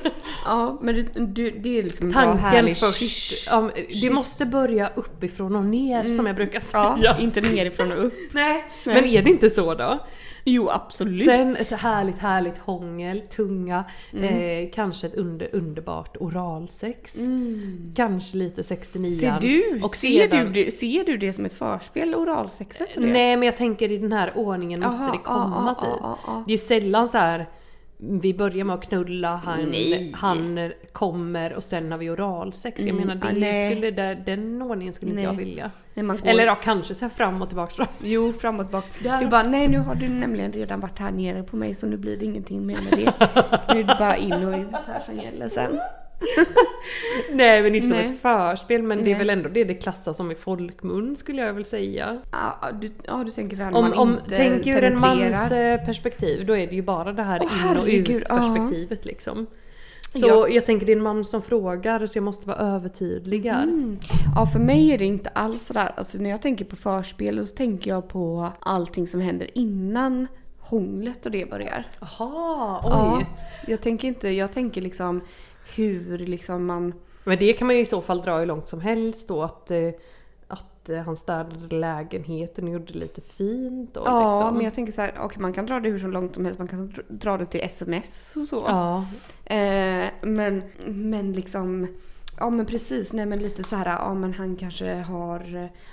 ja, men du, du, det är liksom bra,
Tanken
härlig
först.
kyss.
Ja, men det måste börja uppifrån och ner som jag brukar säga.
Mm. Ja, inte nerifrån och upp.
Nej, men är det inte så då?
Jo, absolut.
Sen ett härligt härligt hångel, tunga,
Mm.
eh, kanske ett under, underbart oralsex. Kanske lite 69
Mm. ser du,
och
ser,
sedan-
du det, ser du det som ett förspel, oralsexet? eller?
Nej men jag tänker i den här ordningen måste
Aha,
det komma
ja, ja,
typ.
ja, ja.
Det är ju sällan så här. Vi börjar med att knulla, han,
Nej. Mm,
han kommer och sen har vi oralsex. Jag menar
ja,
det
nej.
skulle, där, den ordningen skulle inte
Nej.
jag vilja.
När man går,
Eller ja, kanske så här fram och tillbaks. fram.
Jo, framåt bak.
Där.
Du bara, nej nu har du nämligen redan varit här nere på mig så nu blir det ingenting mer med det. nu är det bara in och ut här som gäller sen.
Nej men inte
Nej.
som ett förspel men det är
Nej.
väl ändå det det klassas som i folkmun skulle jag väl säga.
Ja, ja, du, ja, du tänker det här när
Om,
man
om,
inte
tänk ur en
penetrerar.
mans eh, perspektiv, då är det ju bara det här
Åh,
in och
herregud,
ut perspektivet liksom. Så
Ja.
jag tänker det är en man som frågar så jag måste vara övertydlig här.
Mm. Ja, för mig är det inte alls sådär. Alltså när jag tänker på förspel så tänker jag på allting som händer innan hånglet och det börjar.
Jaha, oj.
Ja, jag tänker inte, jag tänker liksom hur liksom man...
Men det kan man ju i så fall dra hur långt som helst då att, eh, att eh, han städade lägenheten och gjorde lite fint och
Ja,
liksom.
men jag tänker så här, okej man kan dra det hur så långt som helst, man kan dra- dra det till sms och så.
Ja,
Eh, men, men liksom, ja men precis, nej men lite så här, ja men han kanske har...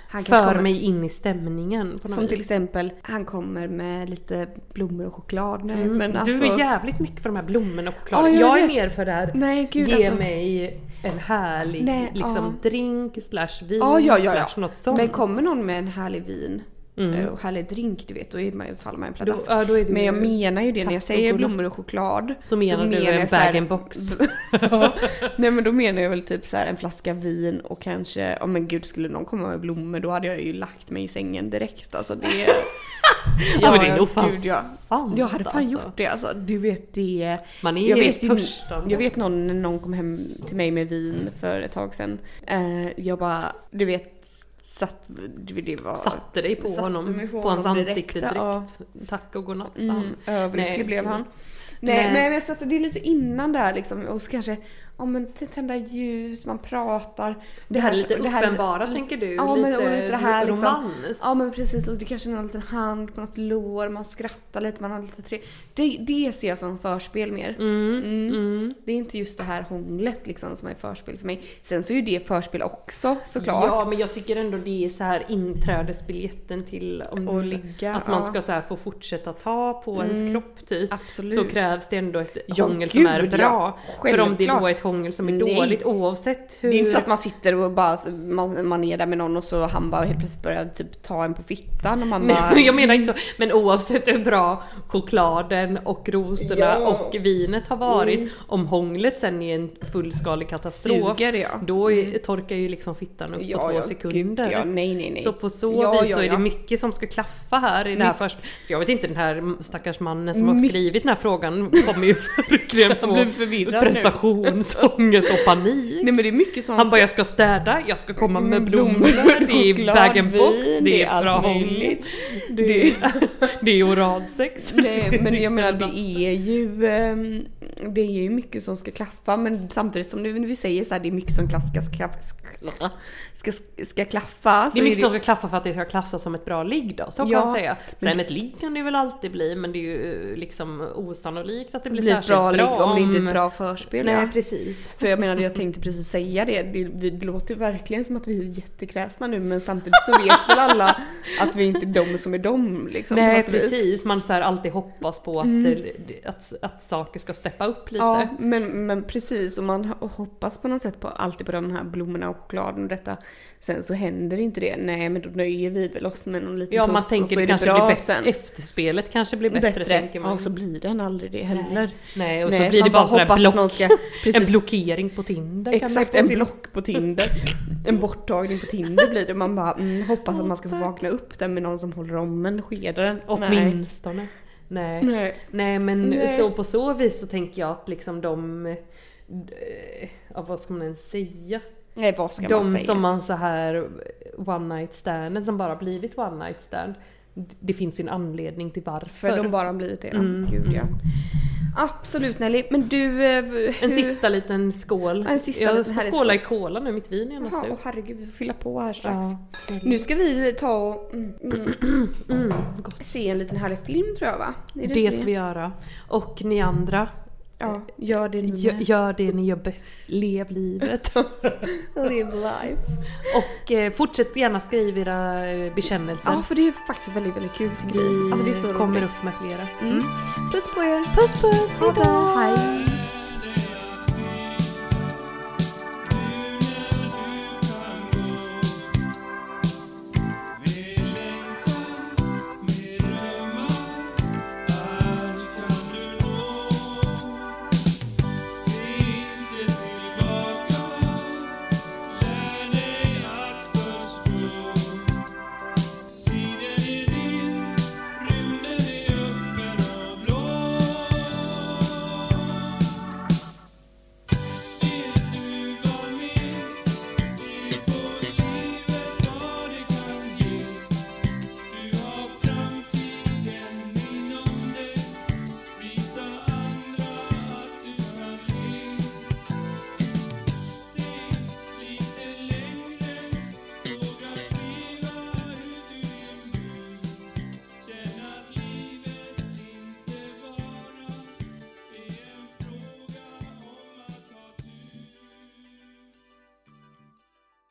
Han kanske
för
kommer-
mig in i stämningen på något
Som till
vis.
exempel, han kommer med lite blommor och choklad. Nej, men alltså,
Mm. Du är jävligt mycket för de här blommorna och chokladen.
Ja, jag
jag är
vet.
mer för det här
Nej gud
Ge
alltså.
mig en härlig
Nej,
liksom, drink slash vin
Ja, ja, ja,
slash
ja.
något sånt. Mm.
Men kommer någon med en härlig vin eh, och härlig drink, du vet, då är man ju, faller man ju
Då-
pladask.
ja, då är det
men jag
ju
menar ju det när jag
tack och
säger
godnatt.
blommor och choklad.
Så menar
då
du en
jag så här-
bag-in-box?
Ja. Nej men då menar jag väl typ så här en flaska vin och kanske, ja men gud skulle någon komma med blommor då hade jag ju lagt mig i sängen direkt alltså det...
ja, men det är nog fan
gud, ja.
sant
Jag hade fan
alltså.
gjort det alltså. Du vet det...
Man är
Jag
ju
vet, ju-
törstande.
jag vet någon, när någon kom hem till mig med vin för ett tag sedan. Eh, jag bara, du vet, satt... du vet, Det var...
Satte dig på
Satte
honom,
mig
på hans
honom
ansikte direkt.
direkt, ja.
Tack och godnatt sa han.
Mm, överlycklig
Nej.
blev han. Nej,
Nej.
men jag satt det är lite innan där liksom och så kanske ja men t- tända ljus, man pratar.
Det här är lite
och
uppenbara, tänker du?
Ja, men, och lite det här,
ro-
liksom.
romans?
Ja men precis och det kanske är någon liten hand på något lår, man skrattar lite, man har lite tre. Det, det ser jag som förspel mer.
Mm, mm.
Det är inte just det här hånglet liksom som är förspel för mig. Sen så är ju det förspel också såklart.
Ja men jag tycker ändå det är så här inträdesbiljetten till om
Och ligga,
att man
ja. Mm,
ska så här få fortsätta ta på ens kropp typ.
absolut.
Så krävs det ändå ett
Ja,
hångel som är
gud, ja.
bra. För om det
Självklart.
då är ett hångel som är
Nej.
dåligt oavsett hur...
Det är ju inte så att man sitter och bara, man, man är där med någon och så han bara helt plötsligt börjar typ ta en på fittan och man bara...
Nej, jag menar inte så. Men oavsett hur bra chokladen och rosorna
Ja. Mm.
och vinet har varit. Om hånglet sen är en fullskalig katastrof.
Suger, ja.
Då är, torkar ju liksom fittan upp på två sekunder.
Gud, ja, nej, nej, nej.
Så på så
Ja,
vis
ja,
så är
ja.
det mycket som ska klaffa här i det här
Mycket.
först. Så jag vet inte den här stackars mannen som har skrivit den här frågan kommer ju verkligen
Han blir
få
förvirrad nu.
prestationsångest och panik.
Nej men det är mycket sånt.
Han bara jag ska städa, jag ska komma med blommor, det är
choklad,
bag and box,
vin,
det är
allt
bra hångel.
möjligt.
Det är, det är oralsex.
Nej men jag menar det är ju ehm, Det är ju mycket som ska klaffa men samtidigt som det- vi säger så här det är mycket som klaff, ska, ska, ska, ska, ska klaffa. Så
Det är mycket som ska klaffa för att det ska klassas som ett bra ligg då, så kan
Ja,
man säga. Sen ett ligg kan det väl alltid bli men det är ju eh, liksom osannolikt att det blir,
blir ett
särskilt bra,
bra, ligg om det inte är ett bra förspel.
Nej
ja.
precis.
För jag menade, jag tänkte precis säga det. det. Det låter ju verkligen som att vi är jättekräsna nu men samtidigt så vet väl alla att vi inte är de som är de. Liksom, på
Nej
något vis. Mm.
precis, man så här alltid hoppas på att, eh, att, att saker ska steppa upp lite.
Ja, men, men precis. Och man hoppas på något sätt på, alltid på de här blommorna och chokladen och detta. Sen så händer inte det. Nej, men då nöjer vi väl oss med någon liten
Ja, man
puss och
tänker
så är
det kanske
bra
blir bättre.
sen.
Efterspelet kanske blir bättre, tänker man.
Ja, så blir den aldrig det heller.
Nej och så
Nej,
blir det
man
bara,
bara
sådär
hoppas att
block,
någon ska-
en
precis.
blockering på Tinder. kan
Exakt,
man få
en
se.
block på Tinder. En borttagning på Tinder blir det. Man bara mm, hoppas att man ska få vakna upp där med någon som håller om en, skedar en. Nej.
Åtminstone. Nej.
Nej.
Nej men
Nej.
så på så vis så tänker jag att liksom de... eh, Ja, vad ska man ens säga?
Nej vad ska
de
man säga?
som man så här one night standen som bara blivit one night stand. Det finns ju en anledning till varför.
För de bara har blivit det.
Mm,
Gud ja. Absolut Nelly, men du... eh,
En
hur-
sista liten skål.
En sista
jag
liten
får
härlig
skåla i cola nu, mitt vin är gärna
Jaha,
slut.
åh herregud vi får fylla på här strax.
Ja, snälla.
Nu ska vi ta och mm, mm,
mm, gott.
se en liten härlig film tror jag va? Är
Det,
inte
ska vi göra. Och ni andra,
Ja, gör det nu
gö-
med.
gör det ni gör bäst. Lev livet.
Live life.
Och eh, fortsätt gärna skriva era eh, bekännelser.
Ja, för det är faktiskt väldigt, väldigt kul tycker vi. Alltså det är så
kommer
roligt.
upp med flera.
Puss på er!
Puss puss,
Ha det,
hejdå!
Hej!